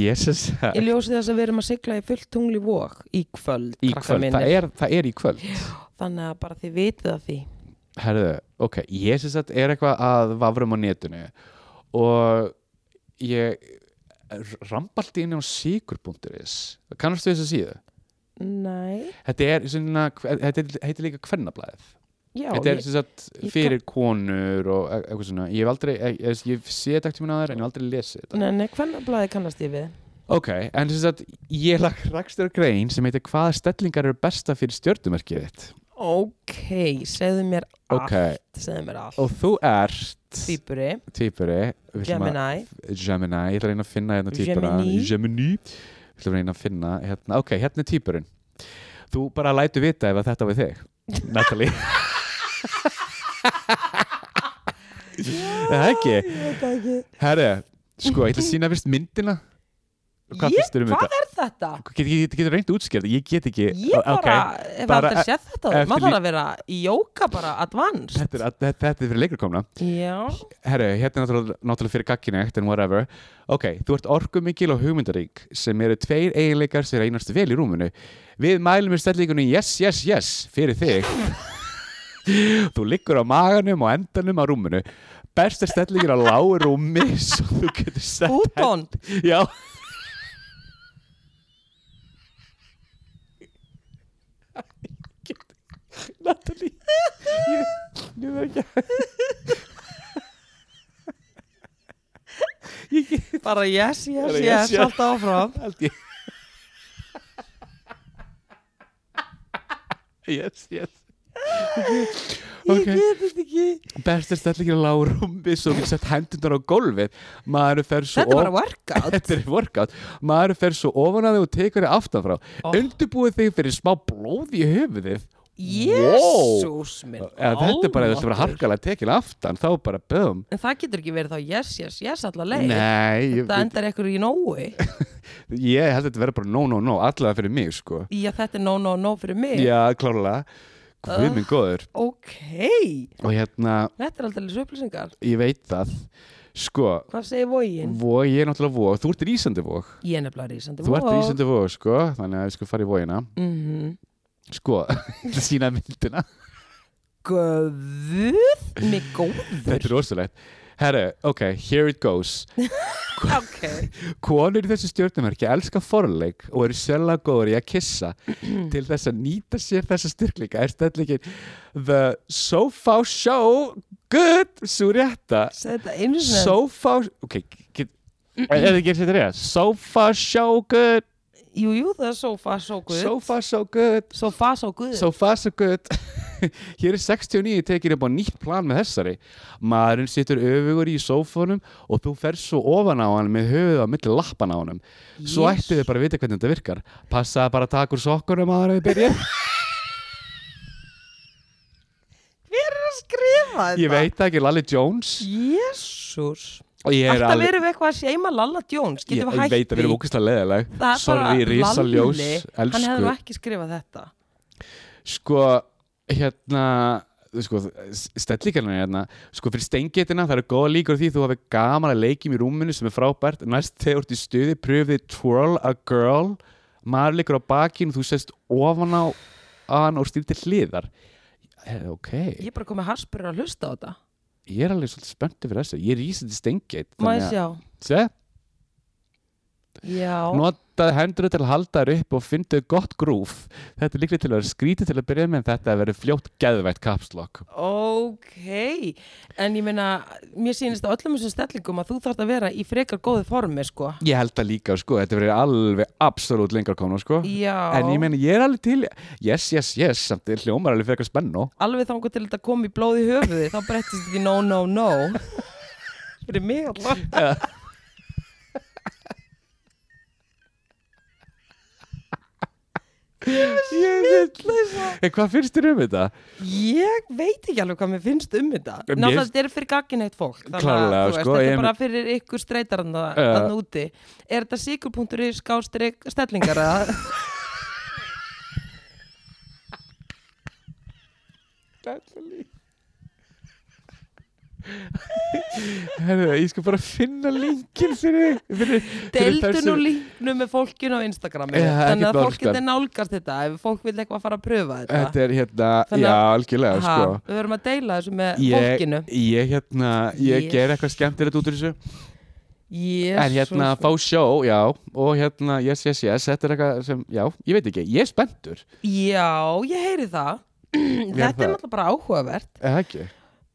ég sem
Ég
sagt
ljósi þess að við erum að sigla í fullt tungli vók í kvöld,
í
krakkar
kvöld,
mínir.
það er, það er í kvöld
þannig að bara þið vitið að því
Herðu, ok, ég sem sagt er eitthvað að vafrum á netinu og ég rambaldi inn á sigur.is kannastu þess að síðu?
Nei,
Þetta er svona, þetta heitir líka hvernablaðið
já,
Þetta er
ég,
sem sagt
ég
fyrir konur og e- eitthvað svona Ég hef aldrei, ég, ég, ég sé þetta ekki minna þær en ég hef aldrei lesið þetta
nei, nei, hvernig blaði kannast ég við?
Ok, en sem sagt, ég lag rakstur grein sem heitir hvaða stellingar eru besta fyrir stjörnumerkið þitt
Ok, segðu mér
Ok,
allt, segðu mér allt
og þú ert
Týpuri,
Týpuri við ætlum að-
Gemini,
Gemini, ég ætla að reyna að finna hérna týpura
Gemini.
Gemini Ég ætla að reyna að finna, hérna, ok, hérna er týpurinn Þú bara lætu vita ef að þetta var þig Natalie Það ekki
ég veit það ekki
Herri, sko, ég ætla að sína fyrst myndina Hvað
Ég-
fyrst erum
hvað
þetta?
er þetta?
Getur get, get, get reynd útskjörð, ég get ekki
Ég bara,
Ok,
hef
bara
aldrei
e-
séð þetta áður.
eftir
maður þarf að vera í jóka bara advanced
Þetta er, þetta, þetta er fyrir leikurkomna
Já,
Herru, hérna er náttúrulega, náttúrulega fyrir gagkinægt en whatever. Ok, þú ert orkumikil og hugmyndarík sem eru tveir eiginleikar sem reynast vel í rúminu. Við mælum við stellingunni yes, yes, yes fyrir þig. þú liggur á maganum og endanum á rúminu. Besta stellingin á lágu rúmi svo þú getur sett...
útón
Já. Natalie, ég, ég verð ekki að... Ég get...
Bara yes, yes,
Bara yes,
yes,
yes.
allt áfram
held ég Yes, yes
Ég get þetta ekki
Bestir stellingir að lága rúmbi svo við sett hendunar á gólfið maður fer svo
Þetta er bara
of-
workout
Þetta er workout maður fer svo ofan að þig og tekur þig aftanfrá
Oh.
oh. undirbúið þig fyrir smá blóð í höfuðið
Jésús minn
Eða, þetta er bara, þetta er bara
almáttugur.
harkalega tekin aftan þá bara böðum
En það getur ekki verið þá yes, yes, yes allar leið
Nei, ég,
Það endar ekkur í nógu
ég held að þetta verður bara no, no, no allavega fyrir mig, sko
Já, þetta er no, no, no fyrir mig
Já, klárlega Guð minn góður
Ok,
og hérna,
þetta er aldrei upplýsingar
ég veit það sko,
Hvað segir vógin?
vog, ég er náttúrulega vog þú ert rísandi vog,
Ég er nefnilega rísandi
Mm. þú ert rísandi vog sko, þannig að við sko fara í vogina
mm
sko, ég ætla að sína myndina
Guð mig góður
þetta er rosalegt herru, ok, here it goes
Ok,
konur í þessu stjórnumerki elska forleik og eru sjálflega góður í að kissa til þess að nýta sér þessa styrkleika er stæðleikin the sofa show good, svo rétta
segð þetta einu sinni
sofa, ok get, er þetta ekki þetta rétt sofa show good
Jú, jú, það er sofa, so good
So far so good
Sofa, so good
So far so good Hér er 69 tekir upp á nýtt plan með þessari Maðurinn situr öfugur í sófónum og þú ferð svo ofan á hann með höfuð á milli lappan á hann Svo
Yes.
ættu þau bara að vita hvernig þetta virkar Passa bara að taka úr sokkunum áður en við byrjum
Hver er að skrifa þetta?
Ég veit það ekki, Lally Jones
Jésús
Og ég er
Alltaf erum við eitthvað að seima Lalla Jones
Ég,
Getum við
ég
hætt
veit að við erum ókvæslega leðileg
Það er
Sorry,
bara
risaljós
Lalli, Hann hefði nú
Elsku
ekki skrifað þetta
Sko, hérna sko, stellingarna hérna sko fyrir steingetina það eru góða líkur á því þú hafi gaman að leikjum í rúminu sem er frábært næst þegar þú ert í stuði pröfið twirl a girl maður leikur á bakinu þú sest ofan á hann og stýr til hliðar Eh, ok,
Ég er bara komið harspurur að hlusta á þetta
ég er alveg svolítið spenntið fyrir þessu ég er í til steingeit
Má ég sjá
sé,
já,
notaði hendur til að halda þér upp og fyndu gott grúf þetta er líklega til að vera skrítið til að byrja með en þetta að vera fljótt geðvægt kapslokk
ok en ég meina, mér sýnist að öllum þessum stellingum að þú þarft að vera í frekar góðu formi sko,
ég held það líka sko, þetta verið alveg absolutt lengra komna sko
já
en ég meina ég er alveg til yes, yes, yes, samt þið hljómar alveg frekar spennu
alveg þangu til þetta kom í blóð í höfuði þá brettist því no, no, no fyrir mig alltaf
ég veit en hvað finnst þér um þetta?
ég veit ekki alveg hvað mér finnst um þetta
Mér-
náttúrulega þetta er fyrir gagginætt fólk þannig að,
Klárlega,
þú veist,
sko,
þetta
ég-
er bara fyrir ykkur streytaranda uh.
Ja.
þannig úti er þetta sikur.ri skástrík stellingar eða?
Herðu, ég skal bara finna linkin fyrir, fyrir, fyrir
deildu nú linknu með fólkinu á Instagrami
Já,
þannig
ekkert
að fólk
mál, sko.
getur nálgast þetta ef fólk vil eitthvað fara að pröfa þetta,
þetta er hérna,
Þannig
já,
að-
algjörlega sko
Ha, við verum að deila þessu með
ég,
fólkinu
ég hérna ég
Yes.
ger eitthvað skemmtilegt út úr þessu
Jesus.
en hérna fá sjó, já og hérna, yes, yes, yes, þetta er eitthvað sem já, ég veit ekki, ég er spenntur
já, ég heyri það þetta
það.
er náttúrulega bara áhugavert
eða ekki,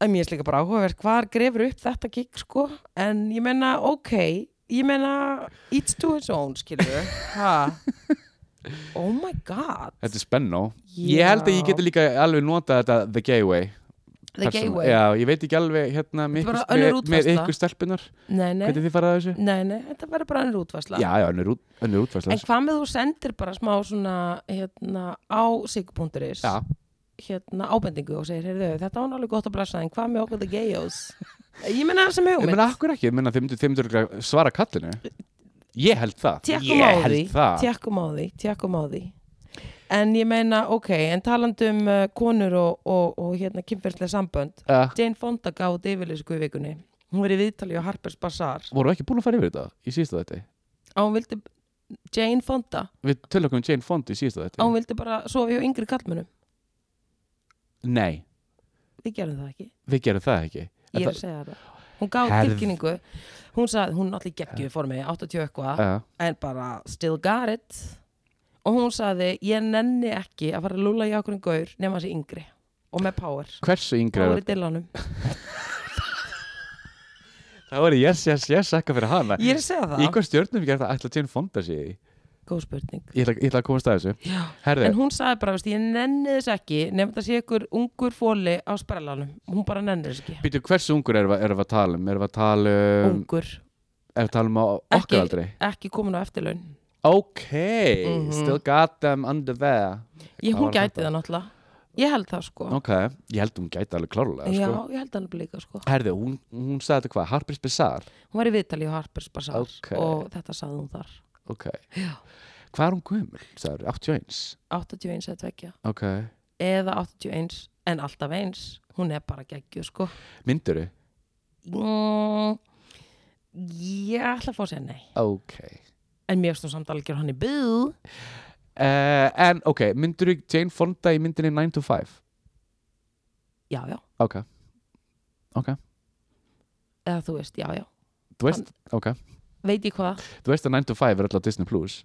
að mér er líka bara áhugavert hvar grefur upp þetta gig sko en ég meina ok ég meina it's to its own skilur ha oh my god
þetta er spennó ég held að ég geti líka alveg notað þetta the gay way,
the
persónu-
gay way
já, ég veit ekki alveg hérna með
Þetta er
ykkur-
bara önnur
með- með
útfærsla.
ykkur stelpunar
nei, nei,
hvernig þið farað þessu?
nei, nei, þetta verður bara ennur útvarsla
já, já, önnur, út, önnur útfærsla
en hvað með þú sendir bara smá svona hérna á sig.is
já,
hérna ábendingu og segir heyrðu þetta var alveg gott að blessa en hvað með okkur the gayos ég meina það sem
ég
hugmynd
menna, akkur ekki, ég menna, þið myndu, þið myndu örugglega svara kallinu ég held það,
tjekkum á
ég
því
held það
tjekkum um á því, tjekkum á því en ég meina, ok, en talandi um uh, konur og, og, og hérna kynferðslega sambönd,
uh,
Jane Fonda gaf út yfirlýsingu í vikunni, hún var í viðtali á Harper's Bazaar
voru ekki búin að fara yfir þetta í síðasta þetta
og hún vildi Jane Fonda,
við tölum um Jane Fonda í síðasta
og
þetta
hún vildi bara sofa hjá yngri kallmönum,
nei,
við gerum það ekki
við gerum það ekki
ég er
Það-
að segja það hún gaf
Herð-
tilkynningu, hún sagði hún allir geggju í formi, 80 eitthvað
Já,
en bara still got it og hún sagði, ég nenni ekki að fara að lúla í okkur um gaur nema þessi yngri og með power
hversu yngri
Kári
er-
Dylanum
það voru yes, yes, yes, ekka fyrir hana
Ég er að segja það
í hvað stjórnum við gerum það ætla Jane Fonda sé í
Góð spurning
ég ætla, ég ætla að komast að þessu
Já.
herðu,
En hún sagði bara, veist, ég nenni þess ekki nefnd að sé ykkur ungur fóli á sprellanum hún bara nenni þess ekki
býtu hversu ungur erum við, erum við að tala um erum við að tala um,
Ungur,
erum við að tala um á okkar
Ekki-
aldrei
ekki komin á eftirlaun
ok,
Mhm.
still got them under there
Ég,
Hvað
Hún
var það
gæti það náttúrulega Ég held það sko
ok, ég held hún gæti alveg klárlega
Já,
sko.
ég held það nefnilega líka sko
herðu, hún, hún sagði þetta hvað, Harper's Bazaar
Hún var í viðtali á Harper's Bazaar
Ókei.
og þetta sagði hún þar
ok, hvað er hún gömul sagði, 81
81 eða 2
ok,
eða 81 en alltaf eins hún er bara geggju sko
mynduru,
mm, Ég ætla að fá að segja nei
ok
en mér stóð samt algjör hann í byð
Uh, en ok, myndur þú Jane Fonda í myndinni 9 to 5?
Já, já,
Ok,
eða þú veist, já, já
þú veist, ok
veit ég hvað
Þú veist að 9 to 5 er alltaf Disney Plus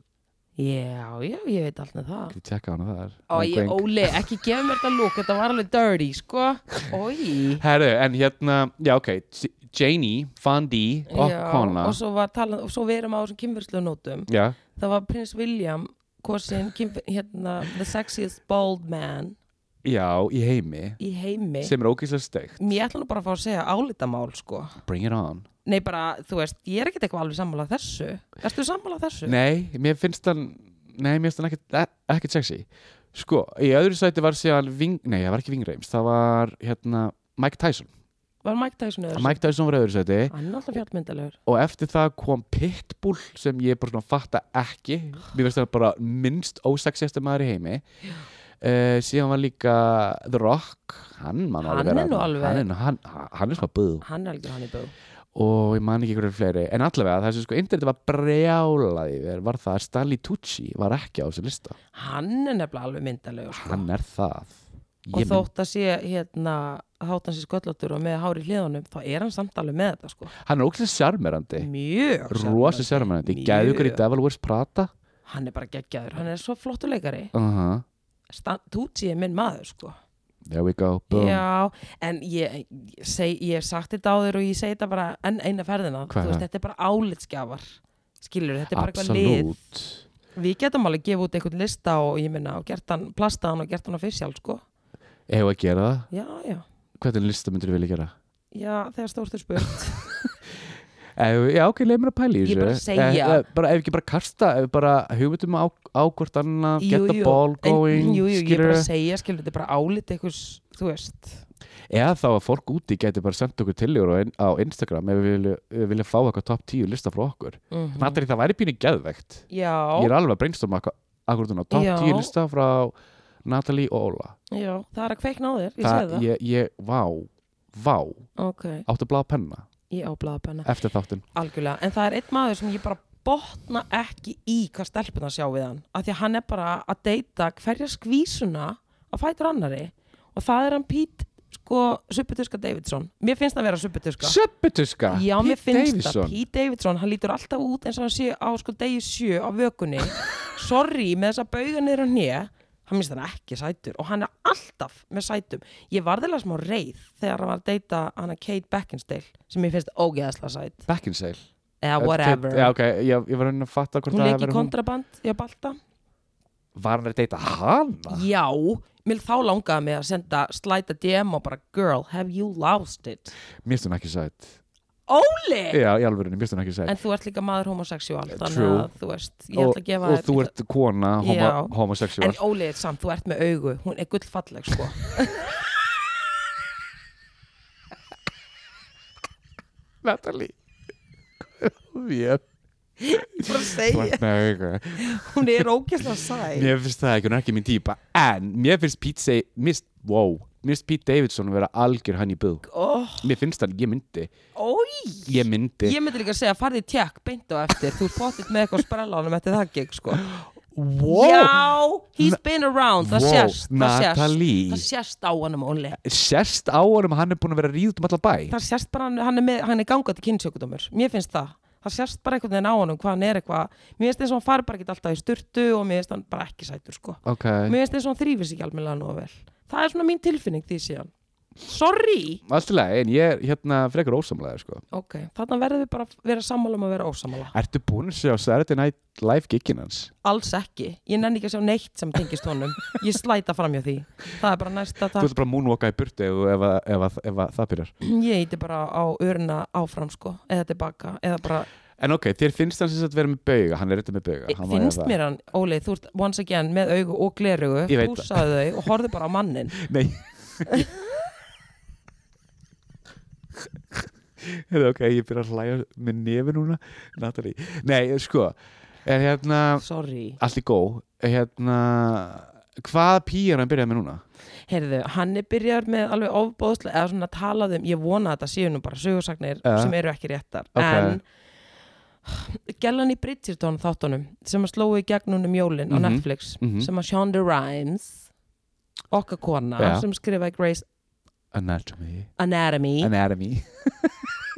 já, já, ég veit alltaf það
Ég tjekka hana þar
Ó,
Wink,
ég,
wink.
Óli, ekki gefa mér þetta lúk þetta var alveg dirty, sko Ói
Herru, en hérna, já ok S- Janie, Fondi og
Já,
Kona
og svo var talan, og svo við erum á þessum kynverslu nótum,
Já,
það var prins William kosin, kynver, hérna the sexiest bald man
já, í heimi
í heimi
sem er ógeðslega steikt
mér ætla nú bara að fá að segja álitamál, sko
Bring it on
nei, bara, þú veist, ég er ekkert eitthvað alveg sammála þessu, erstu sammála þessu?
Nei, mér finnst hann Nei, mér finnst hann ekkert, e- ekkert sexy Sko, í öðru sæti var síðan Ving, Nei, það var ekki Vingreims, það var hérna Mike Tyson
var Mike Tyson eða
Mike Tyson var í öðru sæti
hann er alltaf fjallmyndalegur
og eftir það kom Pitbull sem ég bara svona fatta ekki mér finnst það bara minnst ósexiðasta maður í heimi uh, síðan var líka The Rock hann, man,
Hann
alveg vera
er nú
þarna.
alveg-
hann, er nú- hann, hann, hann er svona búð
hann er algjör hann í bú
og ég man ekki hverju fleiri en allavega þessu sko interneti var brjálað yfir var það að Stanley Tucci var ekki á þessu lista
hann er nefnilega alveg myndalegur sko.
hann er það
og
Ég mynd-
þótt að sé hérna að hátan sér sköllatur og með hári hliðanum þá er hann samt alveg með þetta sko
hann er ókslega sjarmerandi
mjög
rosa Mm, sjarmerandi, gæðugur í
Mjög.
Devil Wears Prata
hann er bara geggjaður, hann er svo flottur leikari
uh
Tucci er minn maður sko
there we go, boom
Já, en ég, ég, seg, ég hef sagt þetta á þér og ég segi þetta bara enn eina ferðina
Hvað
Þú
er
veist,
það?
þetta er bara álitsgjafar skilur, þetta er bara eitthvað lið
absolutt
Við getum alveg gefið út einhvern lista og ég minna og gert hann, plastað hann og gert hann á fyrstjál sko.
ef að gera það,
Já, já,
hvernig lista myndir vilja gera
já, þegar stórstu spurt
Ef, já, ok, leið mér að pæla í
Ég
þessu.
bara segja.
Ef, ef, bara, ef ekki bara kasta, ef bara hugmyndum á, á hvort annað, get
Jú,
the
jú,
ball
en-
going,
Jú, jú, ég er
skilur.
bara að segja, skilur, þetta er bara álit einhvers, þú veist
Eða þá að fólk úti geti bara sendt okkur tillögur á, á Instagram ef við vilja, við vilja fá eitthvað top 10 lista frá okkur.
mm
Mm. Natali, það væri pínu geðvegt. Ég
Já,
er alveg að brainstorma akkur, akkur þarna, top
Já.
10 lista frá Natalie og Óla.
já, það er að kveikna á þér, ég
Það-
segi það
Ég, ég, vá, vá,
Ok,
áttu blá penna
ég áblaða penna
eftir þáttinn.
Algjörlega, en það er einn maður sem ég bara botna ekki í hvað stelpuna sjá við hann af því að hann er bara að deyta hverja skvísuna að fætur annari og það er hann Pete sko, Suppetuska Davidson mér finnst það að vera Suppetuska
Söpbutuska,
Já, mér finnst það, Pete Davidson hann lítur alltaf út eins og hann sé á sko degi sjö á vökunni, sorry með þess að bauga niður á hnið hann finnst hann ekki sætur og hann er alltaf með sætum, ég varðilega smá reið þegar hann var að deyta hann að Kate Beckinsdale sem ég finnst ógeðaslega sæt
Beckinsale
eða whatever
Já, ok, ég, ég var að reyna að fatta hvort
hún
það
leik
hafi
í
verið
kontraband í að balta
Var hann að deyta hana?
já, mér þá langaði mig að senda slæta DM og bara girl, have you lost it
Mér stund ekki sætt
Óli!
Já, í alvörinni, mér stund ekki sætt
en þú ert líka maður homosexuál þannig
True.
að þú veist, ég ætla að gefa
Og þú ert kona, homo,
Já.
homosexual
en Óli er samt, þú ert með augu hún er gullfalleg sko
Natalie Mér,
bara
þú
segja,
ert með auga
hún er ógeðslega sæ
Mér finnst það ekki, hún er ekki mín típa En mér finnst Pete seg, mér, wow Mér finnst Pete Davidson vera algjör hann í bygg
oh,
Mér finnst hann, ég myndi
ói
Ég myndi,
ég myndi líka að segja, farði tjekk beint á eftir þú pottit með eitthvað sprellanum eftir það gig sko
wow
já, he's been around það
Wow,
sést, það sést
Natalie.
það sést á honum Óli
Sérst á honum að hann er búin að vera að ríða út um alla bæ
það sérst bara hann, hann er, með, hann er gangað til kynnsjökudómur mér finnst það, það sérst bara einhvern veginn á honum hvað hann er eitthvað, mér finnst eins og hann fari bara ekki alltaf í sturtu og mér finnst hann bara ekki sætur sko
Ok,
mér finnst eins og hann þrýfir sig ekki almennilega nóg vel það er svona mín tilfinning því síðan sorry,
allt í lagi, en ég er hérna frekar ósamlega sko
ok, þarna verðum við bara að vera sammála um að vera ósammála,
Ertu búin að sjá Saturday Night Live giggin hans?
alls ekki ég nenni ekki að sjá neitt sem tengist honum ég slæta framjá því, það er bara næsta
Þú
það,
ert bara að moonwalka í burtu ef, ef, að- ef, ef, ef að það byrjar.
ég eiti bara á öruna áfram sko, eða tilbaka eða bara
En ok, þér finnst hann sem sagt vera með bauga, hann er eitthvað með bauga. hann hérna. má eiga
finnst
það.
mér hann, Óli, þú ert once again með augu og glerugu,
Ég veit
púsaðu þau og horfðu bara á mannin
Nei. Heyrðu, ok, ég byrja að hlæja með nefi núna, Natalie. Nei, sko, er hérna,
sorry,
allt í góð, er hérna, hvað píjar hann byrjaði með núna?
heyrðu, hann er byrjar með alveg ofbóðslega, eða svona talað um ég vona að þetta séu nú bara sögursagnir
Ja.
sem eru ekki réttar,
Ok.
en gellan í Bridgerton þáttunum sem að slói í gegn núna um jólin
Mhm,
á Netflix
mhm.
sem að Shonda Rhimes okkar kona
Ja.
sem skrifaði Grey's
Anatomy.
Anatomy
Anatomy.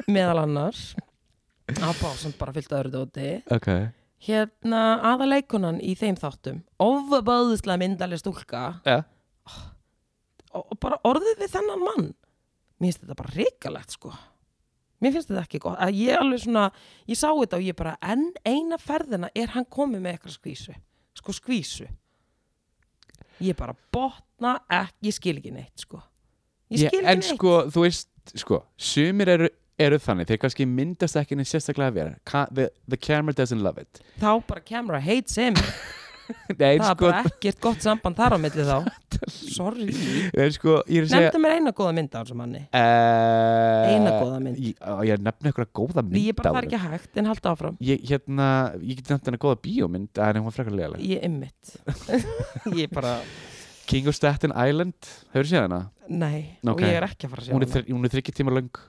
meðal annars á básum bara fyllt öðru dóti
Ok.
hérna aðaleikunan í þeim þáttum ofabóðislega myndaleg stúlka
Já.
og, og bara orðið við þennan mann mér finnst þetta bara reikalegt sko mér finnst þetta ekki gott að ég alveg svona, ég sá þetta og ég bara enn eina ferðina er hann komið með eitthvað skvísu sko skvísu ég bara botna ekki, ég skil ekki neitt sko ég
Já,
skil
en
ekki neitt
sko, þú veist, sko, sumir eru, eru þannig, þeir kannski myndast ekki neitt sérstaklega vera, Ka the, the camera doesn't love it
þá bara camera hates him það
Nei,
er
sko,
bara ekkert gott samband þar á milli þá sorry
nei, sko, ég er að segja
Nefndu mér eina góða mynd af þessum manni
uh,
Eina góða mynd.
Ég, á, ég er að nefna eitthvað góða mynd
Því ég bara
af
það er
honum.
ekki hægt, en halda áfram
Ég, hérna, ég geti nefnt hennar góða bíómynd en hún var frekar legaleg
Ég ymmit Ég bara,
King of Staten Island, hefur séð hana?
nei
Ok.
Og ég er ekki að fara að sjá
Hún er, þri, hún er þryggja tíma löng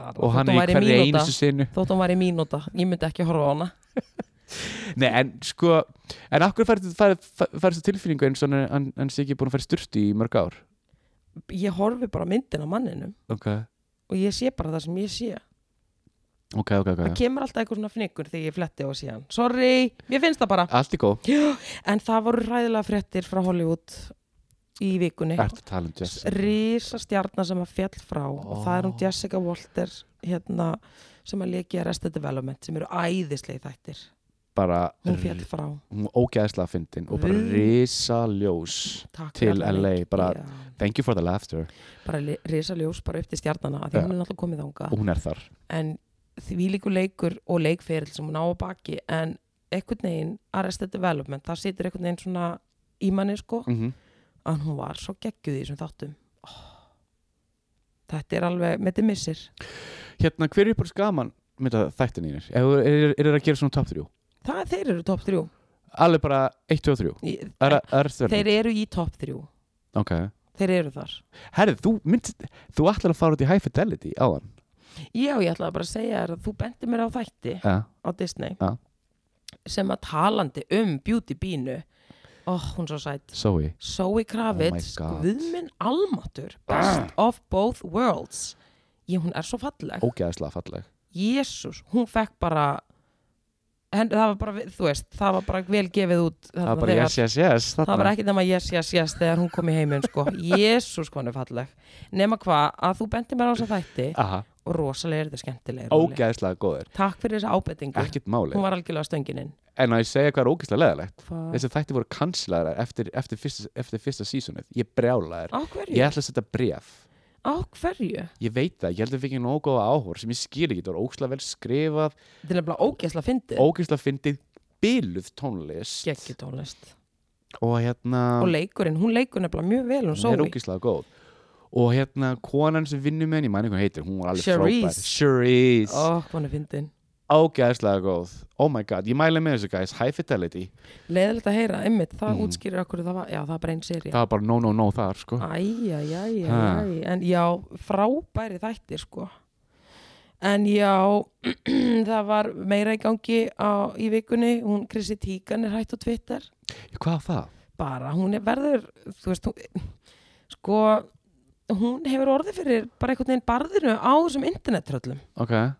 hana
og hann er í hverju einustu sinu
Þótt hún væri mínúta, ég myndi ekki horfa á hana
Nei, en sko, en akkur færðu færðu- færðu þessu tilfinningu eins og hann- hann hann sé ekki búin að fara í styrtu í mörg ár
ég horfi bara á myndina af manninum
ok,
og ég sé bara það sem ég sé
ok, ok, ok
það kemur alltaf eitthvað svona fnyggur þegar ég fletti á síðan sorry, mér finnst það bara
Allt í góð,
en það voru ræðilega fréttir frá Hollywood í vikunni
ertu að tala um Jess
rísa stjarnar sem að fjall frá og það er hún
Ó.
Jessica Walter hérna, sem að leikja Arrested Development sem eru æðislegi þættir
bara,
hún Mm. fjall frá
hún er ógæðslega fyndin og bara
Guð.
risa ljós
Takk
Til
fyrir alla
LA,
leiki,
bara-
já.
Thank you for the laughter
bara li- risa ljós bara upp til stjarnana af því
Já.
hún er náttúrulega komið þanga
og hún er þar
en því líkur leikur og leikferil sem hún á að baki en einhvern veginn Arrested Development það situr einhvern veginn svona í manni sko
mm
að hún var svo geggjuð í þessum þáttum oh. þetta er alveg með þetta missir
Hérna, hver er uppur skaman mynda þættin í þér? Er, er, er það að gera svona top 3?
það þeir eru top 3
Alveg bara 1, 2 og 3
Ég-
Er, er það
þeir eru í top 3
Ok
þeir eru þar
Herri, þú, mynd, þú ætlar að fara út í High Fidelity áðan
já ég ætlaði bara að segja þér að þú bendir mér á þætti
ja.
á Disney
Já.
sem að talandi um Beauty Bínu ó hún er svo sætt
Zoe
Zoe Kravitz,
Oh my God. Ah.
Guðminn Almatur Best of both worlds ég hún er svo falleg
Ógæðslega falleg
Jésús, hún fekk bara henn, það var bara, þú veist það var bara vel gefið út þarna
Það var bara
þegar-
yes, yes, yes
það var ekki nema yes, yes, yes þegar hún kom í heiminn sko, jésús hvað hún er falleg nema hvað, að þú bendir mér á þess þætti
Aha,
og rosalega er þetta skemmtilega
ógæðslega góður
takk fyrir þessa ábendingu,
Ekkert máli
hún var algjörlega stöngininn
En að ég segja hvað er ógæðslega leðalegt
hvað,
Þessi þætti voru kanslaðar eftir, eftir, fyrsta, eftir fyrsta sísonið Ég brjálaðar
á
Ég
hverju
ætla að setja bref
á hverju,
Ég veit það, ég held að við ekki nógu góða áhór sem ég skil ekki, það var ógæðslega vel skrifað
þetta er nefnilega ógeðslega fyndið,
ógæðslega fyndið byluð tónlist
geggi tónlist
og hérna
og leikurinn, hún leikur nefnilega mjög vel hún
hún er
Zoe,
ógæðslega góð og hérna konan sem vinnur með henni, ég man ekki hvað hún heitir hún var alveg
Charisse.
frábær Charisse,
ó hvað hún er fyndin
ógæðslega góð oh my god, ég mæla með þessu guys, High Fidelity
leiðilegt að heyra, einmitt, það
Mhm.
útskýrir okkur það var, já það er bara einn seri
það var bara no no no þar sko
Æjæjæjæ,
Ha.
en já, frábæri þættir sko. En já, það var meira í gangi á, í vikunni, hún Krissi Tíkan er hætt á Twitter,
hvað var það?
bara hún er verður, þú veist, hún, sko, hún hefur orðið fyrir bara einhvern veginn barðinu á þessum internettröllum,
ok,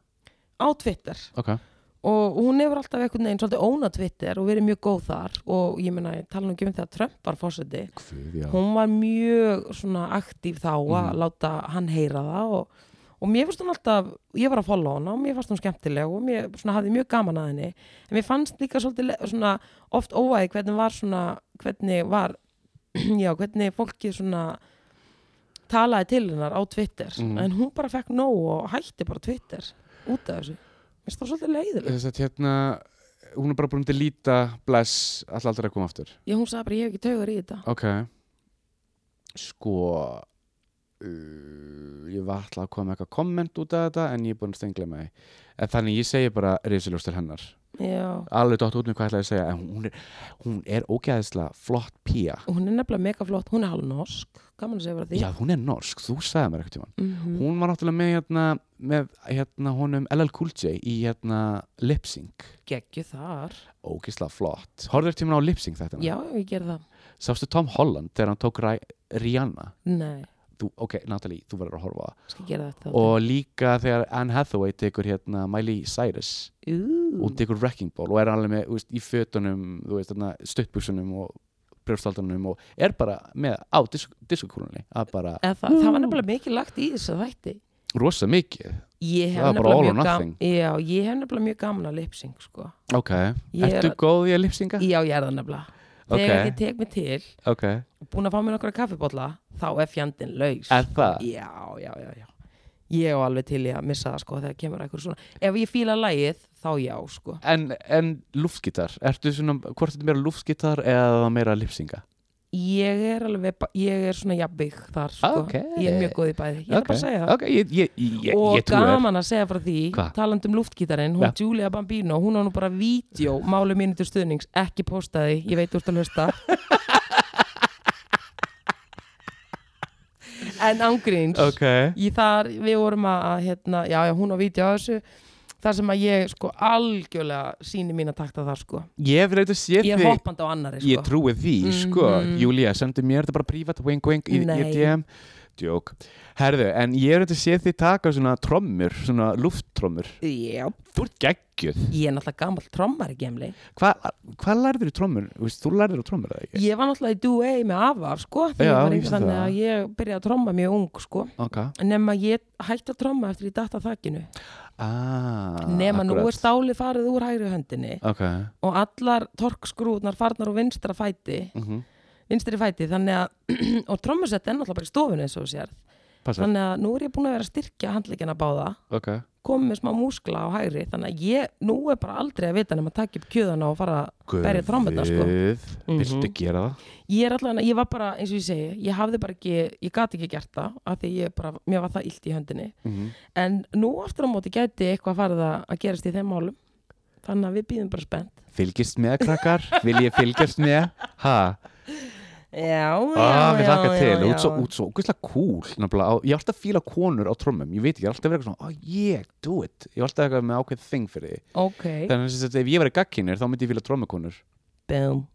á Twitter
ok
og hún hefur alltaf einhvern veginn svolítið óna Twitter og verið mjög góð þar og ég meina, ég tala nú ekki um þegar Trump var fórseti
Guð, já.
hún var mjög svona aktíf þá að
Mhm.
láta hann heyra það og, og mér fannst hún alltaf, ég var að follow hana og mér fannst hún skemmtileg og mér svona hafði mjög gaman að henni en mér fannst líka svolítið le- svona oft óæði hvernig var svona hvernig var, já hvernig fólkið svona talaði til hennar á Twitter
Mhm.
en hún bara fekk nóg og hætti bara Twitter út af þessu mér stóð svolítið leiðileg
þess að hérna hún er bara búin að delita bless alltaf aldrei að koma aftur
ég hún sagði bara ég hef ekki taugar í þetta
ok sko uh, ég var alltaf að koma með eitthvað komment út af þetta en ég er búin að stengla mig en þannig ég segi bara risaljós til hennar
já
alveg dótt út með hvað ég ætlaði að segja en hún er, hún er ógæðislega flott pía
hún er nefnilega mega flott, hún er hálf norsk gaman að segja bara því
já hún er norsk, þú sagði mér eitthvað tíma
Mhm.
hún var náttúrulega með hérna með hérna honum LL Cool J í hérna Lipsync
geggju þar
ógæðislega flott, horfður tíma á Lipsync þetta
já, ég ger það
sástu Tom Holland þegar hann tók Ri- Rihanna
nei, þú
þú, ok Natalie, þú verður að horfa á það
skal gera þetta
og líka þegar Anne Hathaway tekur hérna Miley Cyrus og
Ú,
tekur Wrecking Ball og er alveg með þú veist, í fötunum, þú veist, þarna, stuttbuksunum og brjóstaldunum og er bara með á disk diskokúlunni að bara
eða það, það var nefnilega mikið lagt í þessu þætti
rosa mikið
ég hef
Það var bara all or
nefnilega mjög
nothing.
gaman já, ég hef nefnilega mjög gaman að lipsing sko.
ok,
Ég er
ertu
að-
góð í að lipsinga?
já, ég er það nefnilega
Ok.
þegar ég tek mig til
ok,
og búin að fá mér nokkra kaffibólla þá er fjandinn laus
er það?
já, já, já, já ég á alveg til í að missa það sko þegar kemur eitthvað svona ef ég fíla lægið, þá já sko
En, en lúfsgitar, ertu svona hvort er þetta meira lúfsgitar eða meira lipsinga?
ég er alveg, ba- ég er svona jafnbygg þar sko,
Ok.
ég er mjög góð í bæði ég er bara að segja það
ok, ég, ég, ég, ég,
og
ég trúi þér.
gaman að segja frá því
Hva?
talandi um luftgítarinn, hún
Ja.
Julia Bambino hún á nú bara vídeo, máli mínu til stuðnings ekki postaði, ég veit úr að hlusta en ángríns
ok,
í þar, við vorum að, að hérna, já, já, hún á vídeo á þessu þar sem að ég sko algjörlega síni mín að takta þar sko
ég hef reyndið að sé
ég er hoppandi á annari sko
Ég trúi því, sko
Mhm.
Júlía, sendi mér þetta bara prívat, wink wink í, í
Nei.
DM Jók. Herðu, en ég er þetta séð þið taka svona trommur, svona lufttrommur.
Já,
Þú ert geggjöð.
ég er náttúrulega gammal trommar í gemli.
Hva, hvað lærður í trommur? Þú veist, Þú lærður á trommur, eða ekki?
Ég var náttúrulega í duet með afaf, sko, þegar
Já,
ég var
ég
yngst,
man
þannig
það.
að ég byrjaði að tromma mjög ung, sko.
Ok.
Nefn að ég hætti að tromma eftir ég datt að þakkinu.
Ah,
Nefn að nú
akkurat.
er stálið farið úr hægri höndinni
Ok.
og allar torkskrúðnar farnar úr vinstra fæti,
Mm
vinstri fæti, þannig að, og trommusett er náttúrulega bara í stofunni eins og þú sér.
Passa.
Þannig að nú er ég búin að vera að styrkja handleikina báða,
Ok.
komið með smá múskla á hægri, þannig að ég, nú er bara aldrei að vita nema að taka upp kjöðana og fara að berja trommuna, sko.
Guð, viltu
Mhm.
gera það?
Ég er allan, ég var bara, eins og ég segi, ég hafði bara ekki, ég gat ekki gert það, af því ég bara, mér var það illt í höndinni.
Mhm.
En nú aftur á móti gæti eitthvað farið að að gerast í þeim málum. Þannig að við býðum bara spennt.
Fylgist með, krakkar? Vil ég fylgjast með? Ha?
Já, já,
Ah, mér
já,
hlakka
já,
til,
já.
út svo, út svo, úkvæslega cool nefnilega, á- ég er alltaf að fíla konur á trommum ég veit ekki, ég er alltaf að vera eitthvað svona, oh yeah, do it ég er alltaf eitthvað með ákveð þing fyrir því
Ok,
þannig að ef ég verið gagkinir, þá myndi ég fíla trommukonur
bum.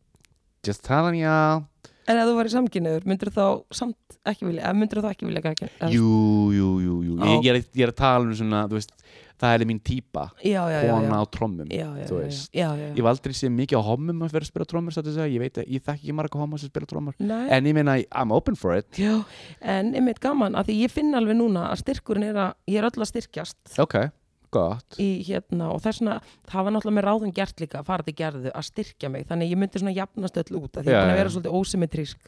just telling ya,
En ef þú væri samkynniður, myndir þá samt ekki vilja, eða myndir þá ekki vilja ekki?
jú, jú, jú, jú. Ég, ég, er, ég er að tala um svona, þú veist það er mín típa,
Já, já, já.
kona á trommum
Já, já, já,
þú
já,
veist.
já, já,
ég
já.
var aldrei séð mikið á hommum að vera að spila trommur, satt að segja, ég veit að ég þekki ekki marga homma sem spila trommur,
Nei.
en ég meina I'm open for it,
Já, en einmitt gaman að því ég finn alveg núna að styrkurinn er að ég er öll að styrkjast
ok, gott
í hérna og þess vegna það var náttúrulega með ráðum gert líka að fara til gerðu að styrkja mig þannig að ég myndi svona jafnast öll út að því ég
Já,
er búin
já,
að vera
já.
svolítið ósymmetrísk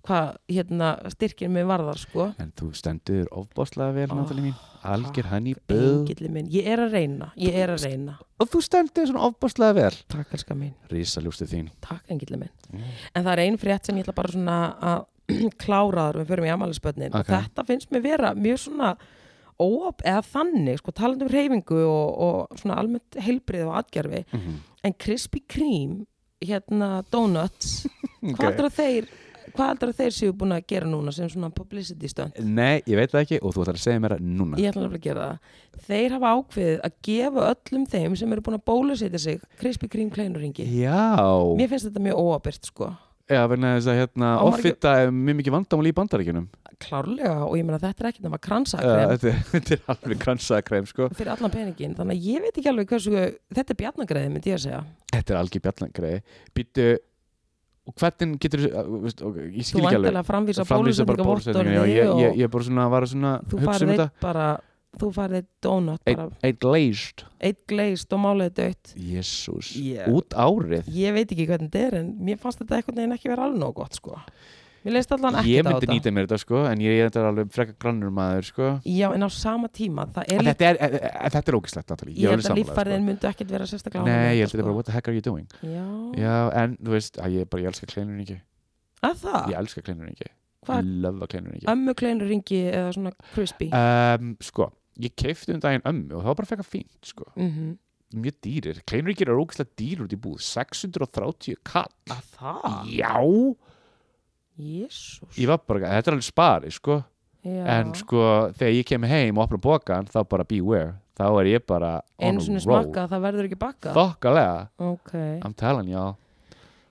hvað hérna styrkinn mig varðar sko
en þú stendur ofbáslega vel,
Oh,
Natalie mín algjör henni böð
engilli minn, ég er að reyna ég er að reyna,
og þú stendur svona ofbáslega vel
takk elska mín
Rísaljústið þín
takk engilli minn
Mm.
en það er ein frétt sem ég ætla bara svona að klára þar og við förum í amalisbönnin
Ok.
og þetta finnst mér vera mjög svona óop eða þannig, sko talandi um reyfingu og, og svona almennt heilbrið og atgerfi,
Mhm.
en Krispy Kreme hérna donuts hvað heldur að þeir hvað heldur að þeir séu búin að gera núna sem svona publicity stunt
Nei, ég veit það ekki og þú ætlar að segja mér það núna
ég ætla nefnilega að gera það þeir hafa ákveðið að gefa öllum þeim sem eru búin að bólusetja sig Krispy Kreme kleinuringi
Já,
mér finnst þetta mjög óabirt sko
já vegna þess að hérna
Á margir-
offita er mjög mikið vandamál í bandaríkjunum
klárlega og ég meina þetta er ekkert nema kransakrem
uh, þetta, er- þetta er alveg kransakrem sko
fyrir allan peningin þannig að ég veit ekki alveg hversu þetta er bjarnagreði myndi ég að segja
Þetta er algjör bjallangrei Býttu, og hvernig getur okay, Ég
þú
skil ekki alveg
vantilega framvísa
Framlýsa bara bólusetningu, já, ég,
bólusetninga
ég, ég er bara svona var að svona
og þú
hugsa um
farið
þetta
bara þú farið donut bara
Eitt glazed
eitt gleist og málið dött
Jésús,
Ég-
út árið
ég veit ekki hvernig þetta er en mér fannst þetta einhvern veginn ekki vera alveg nóg gott sko mér leist allan
Ég
ekkert á
myndi
þetta
nýta mér þetta sko en ég, ég þetta er alveg frekka grannur maður sko
já en á sama tíma það
En
er
þetta er, e- e- e- þetta er ógislegt Natalie,
ég
alveg
held að
sammála,
líffæriðin myndu ekkert vera sérstaklega
sko. Nei, ég
ánægð
held að þetta er
með
bara, what the heck are you doing?
sko. já,
Já, en þú veist, að ég bara, ég elska kleinuringi
að það
Ég elska kleinuringi,
Ah. hvað,
ég löfa kleinuringi
ömmu kleinur ringi eða svona crispy
um, Sko, ég keifti um daginn ömmu og það var bara frekar fínt, sko
Mhm.
Mjög dýrir, kleinuringir eru ógislega dýr út í búð 630 kall
að það
Já,
jésús
ég var bara, þetta er alveg spari, sko En sko, þegar ég kem heim og opna bókan, þá bara beware Þá er ég bara on
einu sinni sko.
a roll
smakka það verður ekki bakka
Þokkalega,
ok
I'm telling y'all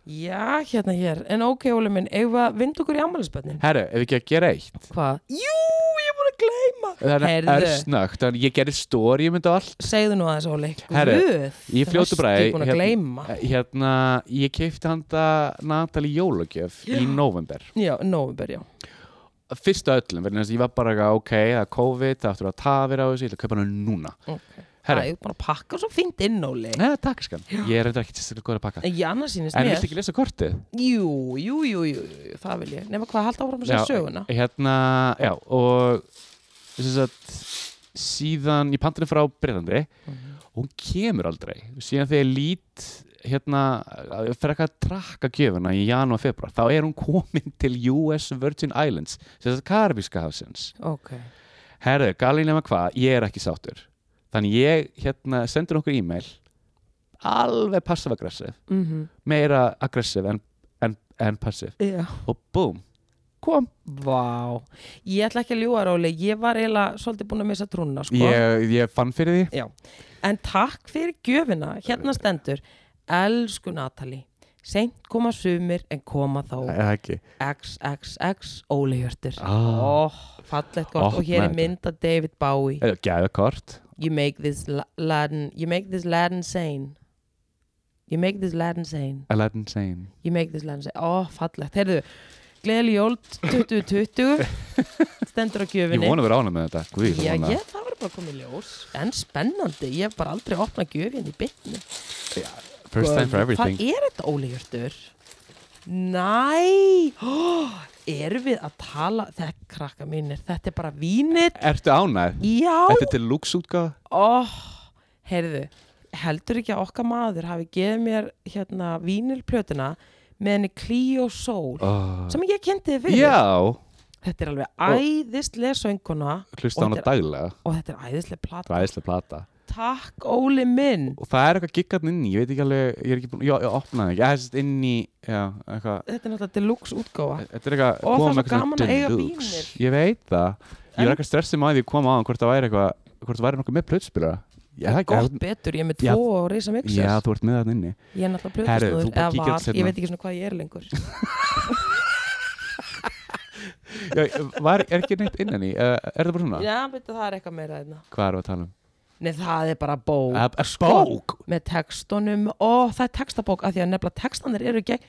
já hérna hér en ok Óli minn eigum við að vinda okkur í ammælisbönnin
Herru, ef við ekki að gera eitt
hvað jú ég er búin að gleyma
Þannig
Heyrðu.
er snögt, þannig ég gerði stóri um þetta allt
segðu nú aðeins Óli
Herru, í fljótu bragði,
ég búin að
hérna-
gleyma
Hérna, ég keipti handa Natalie Jólagjöf í november
já, november, já
Fyrst af öllum, verðin þess að ég var bara eitthvað, ok, það er COVID, það áttur að tafir á þessu, ég ætla að kaupa hana núna
okay. Æ,
Herru.
ég er búin að pakka svo fínt inn Óli
Nei, takk skan, ég er reynda ekki sérstaklega góð að pakka
ég annars sýnist
En
mér
viltu ekki lesa kortið?
jú, jú, jú, jú, jú, það vil ég nema hvað, halda áfram að segja söguna
hérna, já, og þess að síðan, ég pantaði frá Breitlandi og hún kemur aldrei síðan þegar ég lít hérna, fyrir eitthvað að trakka gjöfuna í janúar, februar, þá er hún komin til US Virgin Islands sem þetta karabíska hafsins
ok,
herðu, galið nema hvað, ég er ekki sáttur þannig ég hérna sendur okkur e-mail alveg passive aggressive
mhm
meira aggressive en, en, en passive
já
og boom, kom
Vá, ég ætla ekki að ljúa Róli, ég var eiginlega svolítið búin að missa trúna sko.
ég, ég fann fyrir því
En takk fyrir gjöfina, hérna stendur Elsku Natali, seint koma sumir en koma
Það
þá
er ekki
XXX Óli Hjörtur
Ah.
oh, fallegt gott og hér er
Opnaði
mynd af David Bowie
Gæðu kort
you make this la- lad you make this lad insane you make this lad insane
Aladdin Sane
Ég make this land say, ó, fallegt, heyrðu Gleðileg jól 2020 Stendur á
Ég
gjöfinni
vona að vera ánum með þetta Guð,
Já,
vona.
ég, það var bara komið ljós En spennandi, ég hef bara aldrei opnað gjöfinni í bytni
First time for everything
Hvað er þetta Óli Hjörtur? Næ oh, Erum við að tala Þetta krakka mínir, þetta er bara vínir
Ertu ánæð?
Já,
Þetta er til lúksútgáð
ó, Oh, heyrðu Heldur ekki að okkar maður hafi gefið mér hérna vínilplötuna með henni Clio Soul
oh.
sem ég kynnti þið fyrir
Já,
Þetta er alveg æðislega sönguna
hlusta
Og
hann á
þetta
daglega
og þetta er æðislega plata.
Ræðislega plata
Takk Óli minn.
Og það er eitthvað giggarn inn í Ég veit ekki alveg Ég er ekki búin Já, ég opnaði ekki Það er sérst inn í Já, eitthvað
Þetta er náttúrulega deluxe útgáfa.
Þetta er eitthvað
Ó, það er
kom
svo
eitthvað
gaman
svona
að eiga
deluxe.
vínil.
Ég veit það Ég
En-
var eitthvað stressið maður Því ég kom á hann Hvort það væri eitthvað Hvort það væri nokkuð með plötspila Já, það er
Gott
ekki-
betur, ég er með
Já.
tvo og reysa mixer.
Já, þú ert með það inni
Ég er náttúrulega
Herru, þú
plötusnúður
bara
eða
kíkja
var,
seinna.
ég veit ekki svona hvað ég er lengur.
Já, var, Er ekki neitt innan í uh, Er það bara svona?
Já, betur það er eitthvað meira einna.
Hvað erum við að tala um? sko,
Nei, það er bara bók.
Að- að Bók?
Með textunum, ó, það er textabók, af því að nefnilega textanir eru gegn.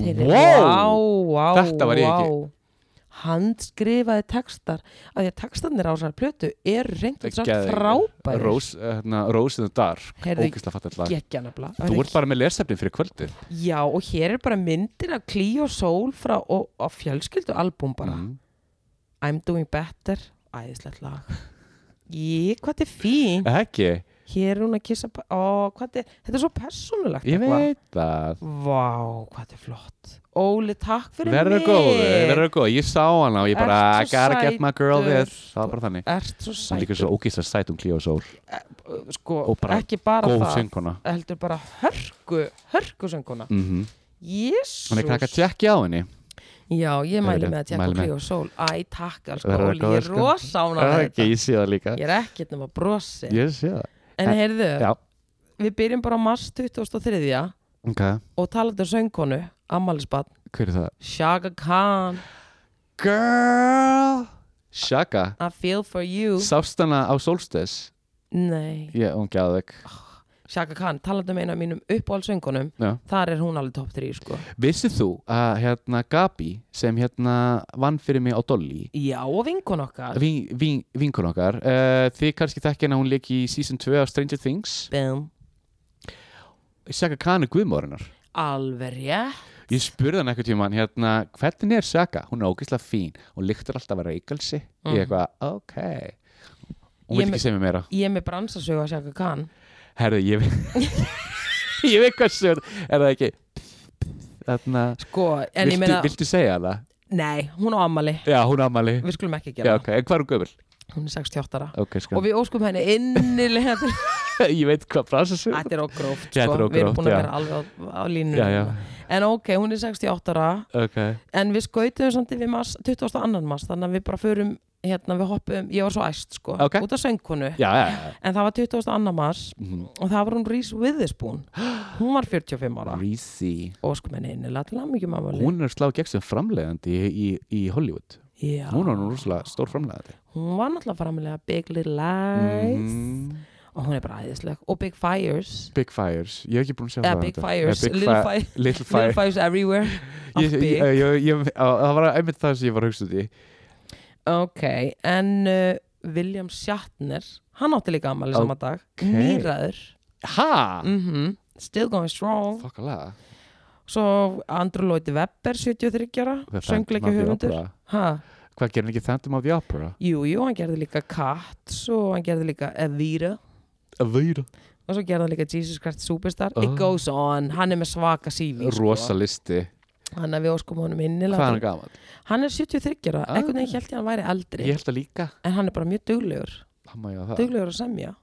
Þeir eru-
Wow!
Vá, vá,
Þetta var ég ekki.
vá. Handskrifaði textar, af því að textanir á þessari plötu eru reynd og sagt
Geðveik.
frábæri.
Rose, hérna, Rose in the Dark
Heyrðu,
Ógislega fattar lag
geggja nefnilega
Þú ert bara með lesefni fyrir kvöldið
Já og hér er bara myndir af Clio Soul frá og, og fjölskyldu albúm bara
Mm.
I'm doing better, æðislegt lag Jí, hvað þetta er fín
Eða Ekki,
Hér er hún að kissa pa- Ó, hvað þetta er, þetta er svo persónulegt
ég
eitthvað.
veit það
Vá, hvað þetta er flott Óli, takk fyrir
Verður
mig
góð, verður góð Ég sá hana og ég bara I
Ert svo
gotta get my girl
sætur.
this Það var bara þannig
Ert svo
Hún er líka
sætur
svo ógislega sæt um Cleo Sól
Sko,
og bara
ekki bara
Góð
það
synguna
Heldur bara hörku, hörku sönguna
mm
Jésús
Hann er krakka tjekki á henni
Já, ég mæli
Heyrðu,
með að tjekka
mæli með.
Clio Soul Æ, takk elsku
Verður það
Óli, ég
góður,
er
sko?
rosána
Það
með
er
þetta
ekki, ég sé það líka
Ég er ekkert nema brosi
Ég sé það
En heyrðu,
Já,
við byrjum bara á mars 2003
ok
og talandi um söngkonu, ammælisbann
Hver er það?
Shaka Khan,
Girl Shaka
I feel for you
Sást hana á Solstis
Nei,
Ég, hún gæðveg
Shaka Khan, talandi um eina af mínum uppáhaldsöngunum
Já.
þar er hún alveg top 3 sko
Vissið þú að hérna Gabi sem hérna vann fyrir mig á Dolly
Já, og vinkon okkar
vin, vin, vinkun okkar uh, þið kannski þekki henni að hún leik í season 2 af Stranger Things
Bum,
Shaka Khan er guðmórinnar
alveg rétt
ég spurði hann eitthvað tíma hérna, hvernig er Shaka, hún er ógeðslega fín hún lyktar alltaf að reykelsi ég eitthvað, ok hún vil
Mm. Ég me-
ekki segja mér meira
Ég er með bransasögu að Shaka Khan
herðu, ég ég veit hvað sér er það ekki þarna
Sko, en
viltu,
ég meina
viltu segja það?
Nei, hún á ammali
já, hún ammali
Við skulum ekki
já,
gera
ok, en hvað er hún gömul?
það Hún er 68 ára
ok, sko,
Og við óskum henni innilega til
ég veit hvað frasa sér
Þetta er ógróft
Já,
sko.
þetta er
Við erum
ógróft,
búin að
já.
vera alveg á, á línu
já, já,
En ok, hún er 68 ára
ok
En við skautum samt yfir mars, 22. mars Þannig að við bara förum hérna, við hoppum, ég var svo æst sko
Ok.
Út af söngkonu
já, já, já
En það var 22. mars
Mhm.
Og það var hún Reese Witherspoon Hún var 45 ára
Reezy
Og sko menn einilega til hann mikið mamma
hún er að slá gegn sem framleiðandi í, í, í Hollywood
Já,
hún er nú rosalega stór framleiðandi
hún var náttúrulega framlega Big Little Lies
Mm,
Og hún er bara æðisleg Og Big Fires
Big Fires, ég hef ekki búin að sjá
Eða
það
Big
þetta.
Fires,
Eh, Big
Little
Fi-
Fires
Little
Little
Fire
Fires Everywhere Allt
Ég-
Big.
ég- ég- ég- á- það var einmitt það sem ég var að hugsa út í
Ok, en uh, William Shatner, hann átti líka ammali sama dag, nýraður
ha,
mm still going strong
þokkalega
svo Andrew Lloyd Webber 73 ára,
The Phantom
söngleikja
of the
höfundur
Opera.
ha,
hvað gerir hann ekki Phantom of the Opera
jú, jú, hann gerði líka Cats og hann gerði líka Evira
að vera
og svo gerði hann líka Jesus Christ Superstar
Oh.
It Goes On, hann er með svaka CV
rosa listi,
sko. hann er við óskum honum innilega
hvað er hann gaman
hann er 73 ára,
Ah.
einhvern veginn held ég að hann væri eldri
ég Ah. held að líka
en hann er bara mjög duglegur
hann má ég að það
duglegur að semja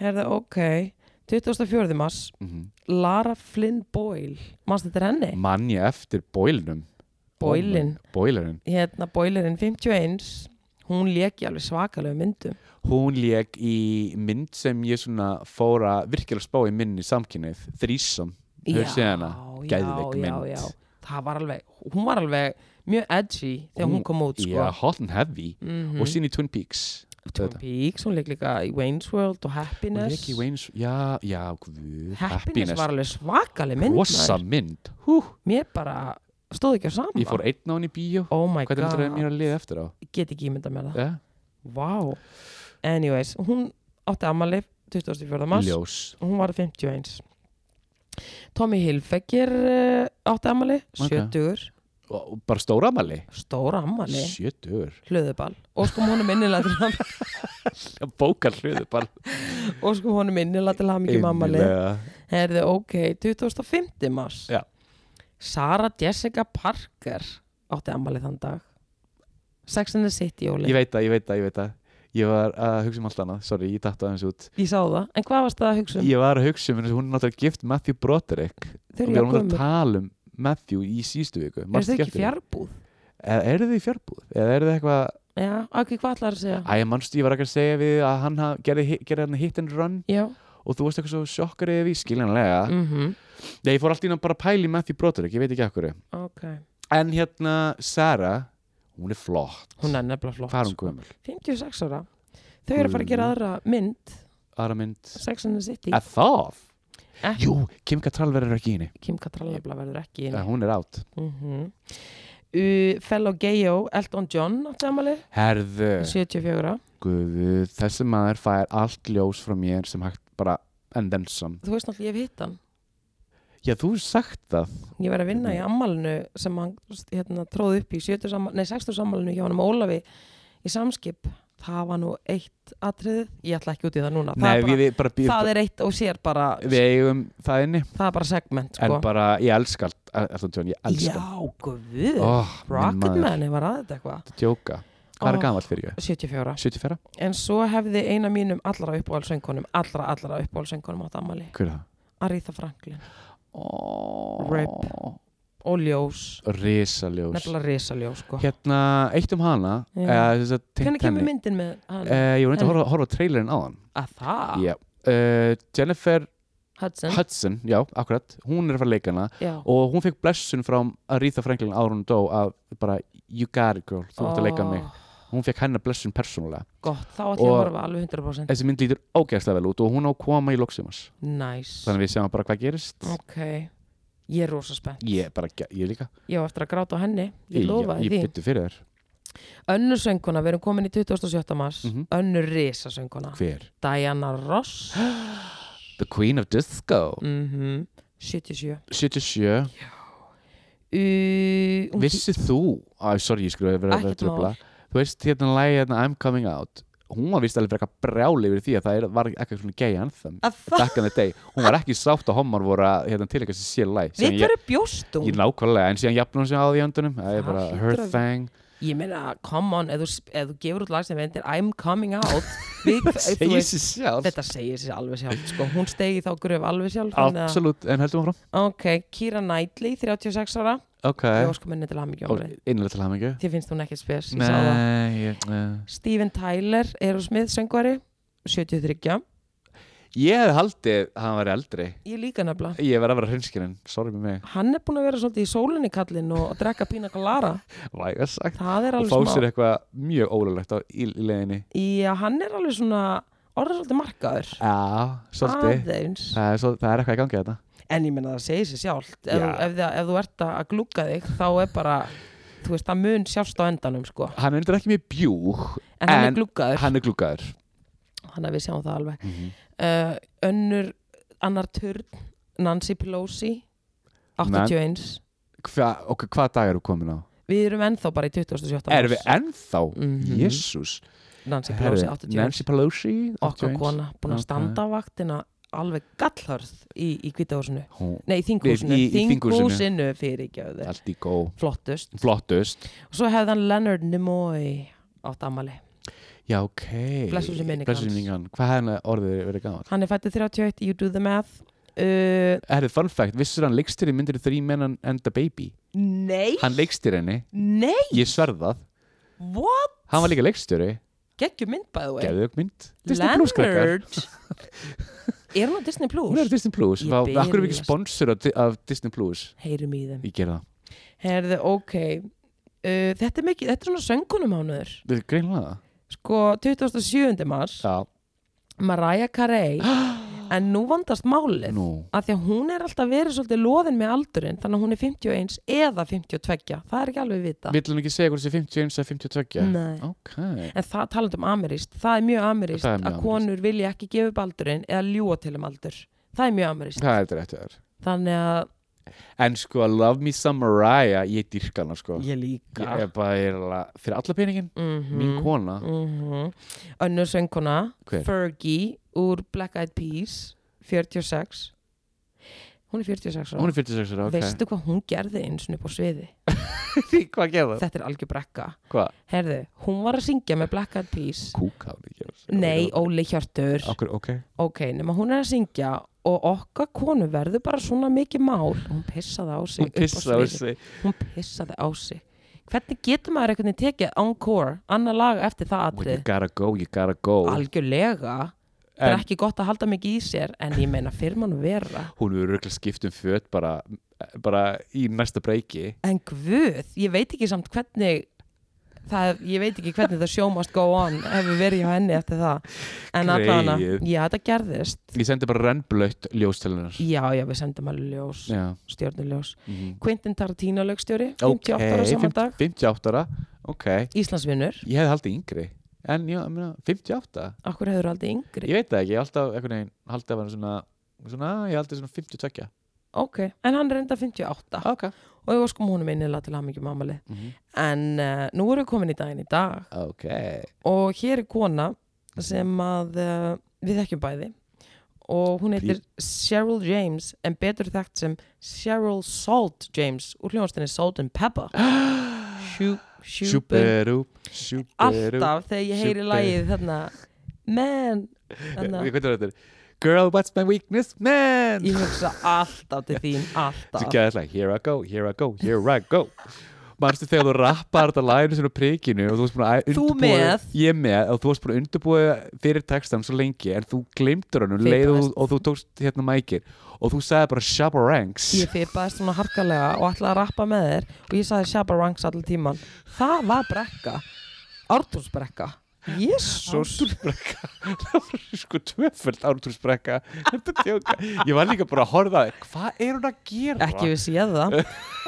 herði ok 24. mars
Mhm.
Lara Flynn Boyle mannst þetta er henni?
mann ég eftir bóilnum
Boylin.
bóilin
hérna Boylerinn 51 hún leki alveg svakalegu myndum
hún lék í mynd sem ég svona fóra virkilega spá í minni samkynið, þrísam Hefur séð hana?
Já,
Geðveik
já,
mynd.
já, já. það var alveg, hún var alveg mjög edgy þegar hún,
Hún-
kom út sko.
Já, Hot and Heavy
Mhm.
og sín í Twin Peaks
Twin
auðvitað.
Peaks, hún leik líka í Wayne's World og
Hún
Happiness
er ekki í Wayne's Já, já, guð
Happiness, var alveg svakaleg mynd
Rosa
maður.
mynd Hú,
mér bara stóð ekki á sama
Ég fór einn á henni í bíó
oh my
Hvað er þetta
god,
mér að liða eftir á? Eh?
get ekki ímynda mér það
Ja?
wow, anyways hún átti ammali 24. mars
Ljós
og hún var 51 Tommy Hilfiger uh, átti ammali,
Ok.
70
og, og Bara stóra amali
stóra ammali,
Sjötur
hlöðuball og sko honum innilega til ham
Bókar hluðu bara
og sko honum innilega til ham ekki mammali
Innilega.
herði ok, 2005 mars
Já.
Sarah Jessica Parker átti ammali þann dag Sex and the City, Óli
Ég veit það, ég veit það, ég veit það Ég var að hugsa um allt annað Sorry, ég datt aðeins út
Ég sá það, en hvað varst það að hugsa um?
Ég var að hugsa um, hún er náttúrulega gift Matthew Broderick
Þau eru
og Við
hjá
erum að
gömur,
tala um Matthew í síðustu viku
eru þau ekki fjárbúð?
Eða eru þið í fjárbúð? Eða eru þið eitthvað
Já, ok, hvað ætlar að segja?
Æ, mannstu, ég var ekki að segja við að hann haf- gerði, hi- gerði hann hit and run
Já,
og þú varst eitthvað svo sjokkar yfir því, skiljanlega
mhm,
Nei, ég fór allt í náttúrulega bara að pæla í Matthew Broderick, ég veit ekki akkur
ok
En hérna, Sarah, hún er flott
Hún er nefnilega flott
Hvað er hún Mm.
sko.
gömul?
56 ára Þau eru að fara að gera
Guð.
aðra mynd
Aðra mynd
Sex and the City
Að það?
Ekki.
Jú, Kim Cattrall verður ekki í henni
Kim Katrallabla verður ekki inn
Eh, Hún er átt
mm uh, Fellow Gayo, Elton John átti amali,
Herðu,
74
guðu, þessi maður fær allt ljós frá mér sem hægt bara and then some
Þú veist náttúrulega, ég hef hitt hann
Já, þú hefur sagt það
Ég var að vinna
Mhm.
í ammalinu sem hann hérna, tróð upp í 70 sammalinu, nei 60 sammalinu hjá hann um Ólafi í samskip Það var nú eitt atriðið Ég ætla ekki út í það núna Það,
Nei,
er, bara,
við, við bara býðum
það er eitt og sér bara
Við eigum það inni
Það er bara segment sko.
En bara, ég elska allt Elton John, ég elska
Já, guð
oh,
Rocketman var að þetta eitthvað
Djóka, hvað er
Oh.
gamall fyrir ég?
74
74?
en svo hefði eina mínum allra uppáhaldsöngunum allra allra uppáhaldsöngunum átt ammali
Hver er það?
Aretha Franklin
Oh.
Rip. og ljós
Risaljós
nefnilega risaljós sko
Hérna, eitt um hana
Já.
eða þess að tengt
hvernig kemur
henni.
myndin Ah. með hann?
Eh, Ég var neitt að
Henni?
horfa, horfa á trailerinn á hann
að það?
Já Uh, Jennifer
Hudson?
Hudson, já, akkurat hún er að fara að leika hana
já
og hún fekk blessun frá Aretha Franklin ára hún dó að bara, you got it girl, þú ætti að leika
Ó,
mig hún fekk hennar blessun persónulega
gott, þá ætlum ég að
Og-
horfa alveg 100%
þessi mynd lítur ógæðslega vel út og hún á að koma í loksumars
nice
Eh, þannig að við sjáum bara hvað gerist
ok ég er rosa spennt
ég, er bara, ge- ég líka
ég á eftir að gráta á henni ég lofa
ég,
því
ég byttu fyrir þér
önnur sönguna, við erum komin í 27. mars
Mhm.
önnur risasönguna
hver?
Diana Ross
The Queen of Disco
mm 77
77,
Uh, hún-
vissið þú Æ, sorry, ég skulle vera að
Ekkert
tröfla Þú veist, hérna lagið hérna I'm Coming Out Hún var vist alveg frekar brjáli yfir því að það er, var ekki svona gay anthem
að það,
Back in the day, hún var ekki sátt að homar voru að hérna, tilika sér sér læg
við
ég,
hverju bjóst hún
ég nákvæmlega, en síðan jafnum sem á því öndunum Það
Það
er bara
hlýtur
her
að-
thing
ég meina, come on, ef þú, ef þú gefur út lag sem vendir I'm coming out við, þú
Segir sér sjálf
þetta segir sér alveg sjálf sko. hún stegi þá gröf alveg sjálf þannig að-
Absolutt, en heldum áfram
ok, Kira Knightley, 36 ára
Ok,
ég óskum henni til hamingju
Og
ámrið
innlega til hamingu
þið finnst hún ekkert spes ég sá það.
Nei, ég, nei.
Steven Tyler, Erosmith söngvari 73
ég hef haldið að hann var eldri
ég líka nefnilega
Ég verð að vera hreinskinin, sorry með mig
hann er búin að vera svolítið í sólinni kallinn og að drekka pína galara
Væga sagt
það er
og
alveg
fá
smá
sér eitthvað mjög ólulegt á í, í leiðinni
Já, hann er alveg svona orðið svolítið markaður
Já, svolítið
aðeins
það er, svo, það er eitthvað í gangi þetta
en ég menna það segir sér sjálft ef,
Já.
þú- ef, það- ef þú ert að glugga þig þá er bara, þú veist, það mun sjást á endanum sko,
Hann er endur ekki mjög bjúg
en hann
En
er gluggaður hann,
Hann er glúkaður
að við sjáum það alveg
mm -hmm.
uh, önnur, annar turn Nancy Pelosi 81
Hva, Ok, hvað dag eru komin á?
við erum ennþá bara í 2017
Erum við ennþá?
Mhm.
Jésús
Nancy Pelosi
Herri,
81
Nancy Pelosi
okkar
81.
kona, búin að
Ok.
standa vaktina alveg gallhörð í, í kvítahúsinu
Hún,
nei, í þinghúsinu,
Í- í þinghúsinu.
þinghúsinu fyrir ekki að
Allt í góð
flottust
Flottust
og svo hefði hann Leonard Nimoy átt ammali,
Já, ok
Blessuð sé minning
Blessuð sé
hans.
minning hann Hvað hefði orðið verið gaman?
hann er fættið 31 You do the math uh,
Herri, fun fact Vissur hann leikstir í myndir Three Men and- and a Baby
nei,
Hann leikstir henni
nei
Ég sverðað
what,
Hann var líka leikstjóri
geggjum mynd bæðu
Geðug mynd Disney Plus krakkar.
Leonard Er hún á Disney
Hún er
Plus?
Disney Plus,
Ég
Vá, af hverju erum
byrja.
við ekki sponsor af, af Disney Plus?
Heyrum í þeim
Ég gera það,
Herðu, ok uh, Þetta er mikið, þetta er svona söngunumánuður
þetta er greinlega það
Sko, 27. mars
Já,
Mariah Carey En nú vandast málið
nú,
að því að hún er alltaf verið svolítið loðin með aldurinn þannig að hún er 51 eða 52 það er ekki alveg vita
vill hann ekki segja hvort þessi 51 eða 52?
Nei.
Ok,
en það talandi um amirist, það er mjög amirist
Það er mjög
að konur vilja ekki gefa upp aldurinn eða ljúa til um aldur það er mjög amirist
það er þetta rétt þér
þannig að
En sko, Love Me Some Mariah, ég dyrka hana sko
ég
Ég
líka
er bara, ég er alveg, fyrir alla peningin, mín kona
Mhm. önnur söngkona
Hver?
Fergie úr Black Eyed Peas 46 hún er 46 ára
Hún er 46 ára, ok
veistu hvað hún gerði eins og upp á sviði
því hvað gerða?
þetta er algjör brekka
Hvað?
Herðu, hún var að syngja með Black Eyed Peas
Kúka hún ekki
Nei, Óli Hjörtur
Okkur, ok
Ok, nema hún er að syngja og okkar konu verður bara svona mikið mál hún pissaði á sig
Hún
upp á
pissa á
sviði.
sig
hún pissaði á sig Hvernig getur maður einhvern veginn tekið encore annar lag eftir það
When you
atrið?
gotta go, you gotta go
Algjörlega Það er
En
ekki gott að halda mikið í sér en ég meina fyrir mann vera
hún verður örugglega skipt um föt bara, bara í næsta breyki
En guð, ég veit ekki samt hvernig það, ég veit ekki hvernig það show must go on hefur verið hjá henni eftir það En allavega,
Greyið.
já þetta gerðist
Ég sendi bara rennblöytt ljós til hennar
Já, já, við sendum alveg ljós,
Já
stjórnuljós
mhm.
Quentin Tarantino lögstjóri, 58
Ok,
ára saman
50
dag
58 ára, ok
Íslandsvinnur,
Ég hefði haldið yngri En já, ég meina, 58
okkur hefur aldrei yngri
Ég veit það ekki, ég haldið af einhvern veginn Haldið af hann svona, svona Ég haldið svona 52
ok, en hann er enda 58
Ok
og við óskum honum innilega til hamingjum amalið
Mhm.
en uh, nú erum við komin í daginn í dag
Ok
og hér er kona sem að uh, við þekkjum bæði og hún heitir Cheryl James en betur þekkt sem Cheryl Salt James úr hljóðastinni Salt and Pepper Sjú, sjúber
Sjúberú Sjúberú
alltaf þegar ég heyri
Super.
lagið þarna man þarna
Við hvernig er þetta? Girl, what's my weakness? Man!
Ég hugsa alltaf til þín,
Þetta er
alltaf
gæðislega, here I go, here I go, here I go Manstu þegar þú rappar þetta laginu sinni á prikinu og þú varst búin að
Þú
undirbúa
með.
Ég með og þú varst búin að undirbúa fyrir textan svo lengi en þú glimtur hann um leið og,
Fipaðist.
og þú tókst hérna mækir og þú sagði bara shabarangs
Ég fipaðist svona harkalega og ætlaði að rappa með þér og ég saði Shabba Ranks allir tíman Það var brekka Ártúrs brekka Jésús
Ártúrsbrekka Það var sko tvöföld ártúrsbrekka Þetta er tjóka Ég var líka bara að horfa að Hvað er hún að gera?
Ekki við séð það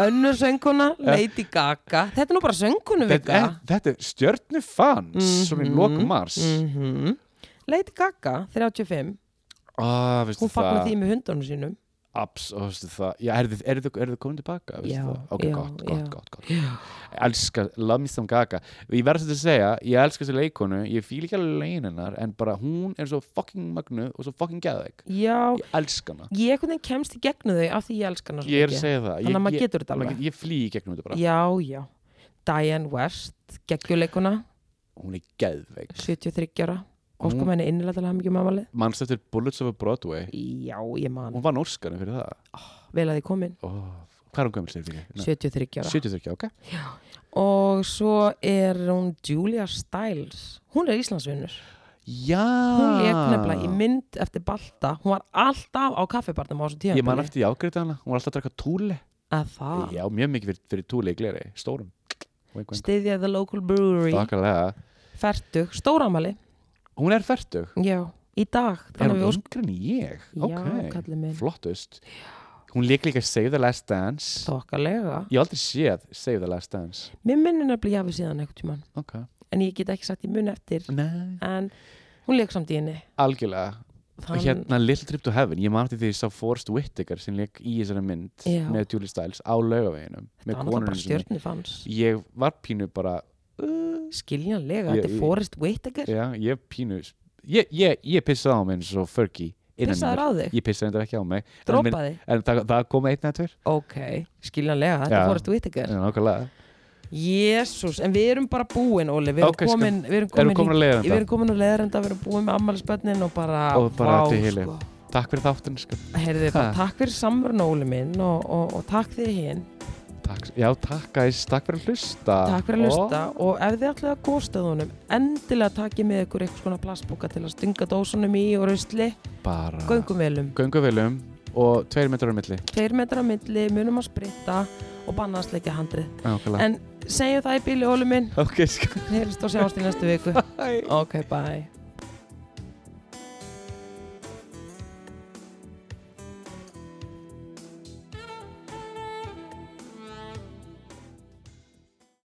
Önnur sönguna, Lady Gaga Þetta er nú bara söngunu
Eh. Þetta
vika Mhm,
er, þetta er stjörnu fans Svona í lokum mars
Lady Gaga, 35
ah, veistu
Hún fagnar
það?
því með hundunum sínum
Abs, og veistu það Já, er þið, er þið, er þið komin tilbaka? veistu
Já,
það? Ok,
já,
gott,
já.
gott, gott, gott Elskar, love me some gaga Ég verð svolítið að segja, ég elska þessi leikonu Ég fíl ekki alveg legin hennar En bara hún er svo fucking magnu og svo fucking geðveik
Já,
Ég elska hana
ég einhvern veginn kemst í gegnu þau af því ég elska hana svo
Ég er að
mikið.
segja það
Þannig að
Ég-
maður
ég-
getur þetta
maður
alveg
get- Ég flý í gegnum þetta bara
Já, já Diane West, geggjuleikuna
Hún er geðveik
73 ára
Hún-
Óskum henni innilega til að hafa mikið mámalið
Manst eftir Bullets of Broadway
Já, ég man
Hún vann Óskarinn fyrir það
Vel að þið komin
oh, Hvað er hún gömul sér fyrir?
73 ára
73, ok
Og svo er hún Julia Stiles Hún er Íslandsvinnur
Já Ah.
Hún leik nefnilega í mynd eftir Balta Hún var alltaf á kaffibarnum á þessu tíma
Ég man eftir ég ágreita hana, hún var alltaf að drakka túli
Að það
Já, mjög mikið fyrir, fyrir túli í gleri, stórum Wink, wink.
Styðja the local brewery
Þakkarlega
Fertug, stóramali
Hún er fertug,
Já, í dag
er
Þannig
hún
við óskum
yngri en ég?
Já,
ok,
kallið minn
flottust Hún leik líka Save the Last Dance
Þokkalega
Ég hef aldrei séð Save the Last Dance
Mér minnir nefnilega ég hafi síðan einhvern tímann
Ok,
En ég get ekki sagt ég mun eftir
nei
en hún leik samt í henni
Algjörlega,
Þann,
hérna Little Trip to Heaven Ég man eftir því að ég sá Forrest Whitaker sem leik í þessari mynd
Já.
með Julie Stiles á laugaveginum
þetta
með
var náttúrulega bara
konunni sinni.
stjörnu fanns
Ég var pínu bara
skiljanlega,
Ég-
þetta er
ég-
Forrest Whitaker
Já, ég pínu Ég, ég, ég pissaði á mig eins og Fergie innan í mér.
pissaður á þig,
Ég pissaði þetta ekki á mig En, minn,
droppaði
en það, það kom einn eða tver
ok, skiljanlega, þetta
Já.
er Forrest Whitaker
Nákvæmlega
jésús, en við erum bara búin Óli, við erum
Ok, skal-
komin við erum
Erum
komin,
komin að leiða
í, við
þetta
erum komin að leðrenda, við erum búin með ammælisbönnin og bara,
Og bara
vá,
til hili.
sko.
Takk fyrir þáttin sko.
Heyrðu, bara
Ha.
takk fyrir samverðin Óli minn og, og, og takk fyrir hinn
Takk takk, já, takk guys, takk fyrir að hlusta
Takk fyrir að hlusta og ef þið ætlaði að góðstöðunum endilega takið með ykkur eitthvað svona plastbóka til að stinga dósunum í og rusli um.
og bara
göngumvelum,
gönguvelum og tveir metrar á milli
tveir metrar á milli munum að spritta og banna að sleikja handrið
Nákvæmlega.
en segjum það í bíli óluminn
ok, sko
hérst og sjáumst í næstu viku
Bye.
ok, bye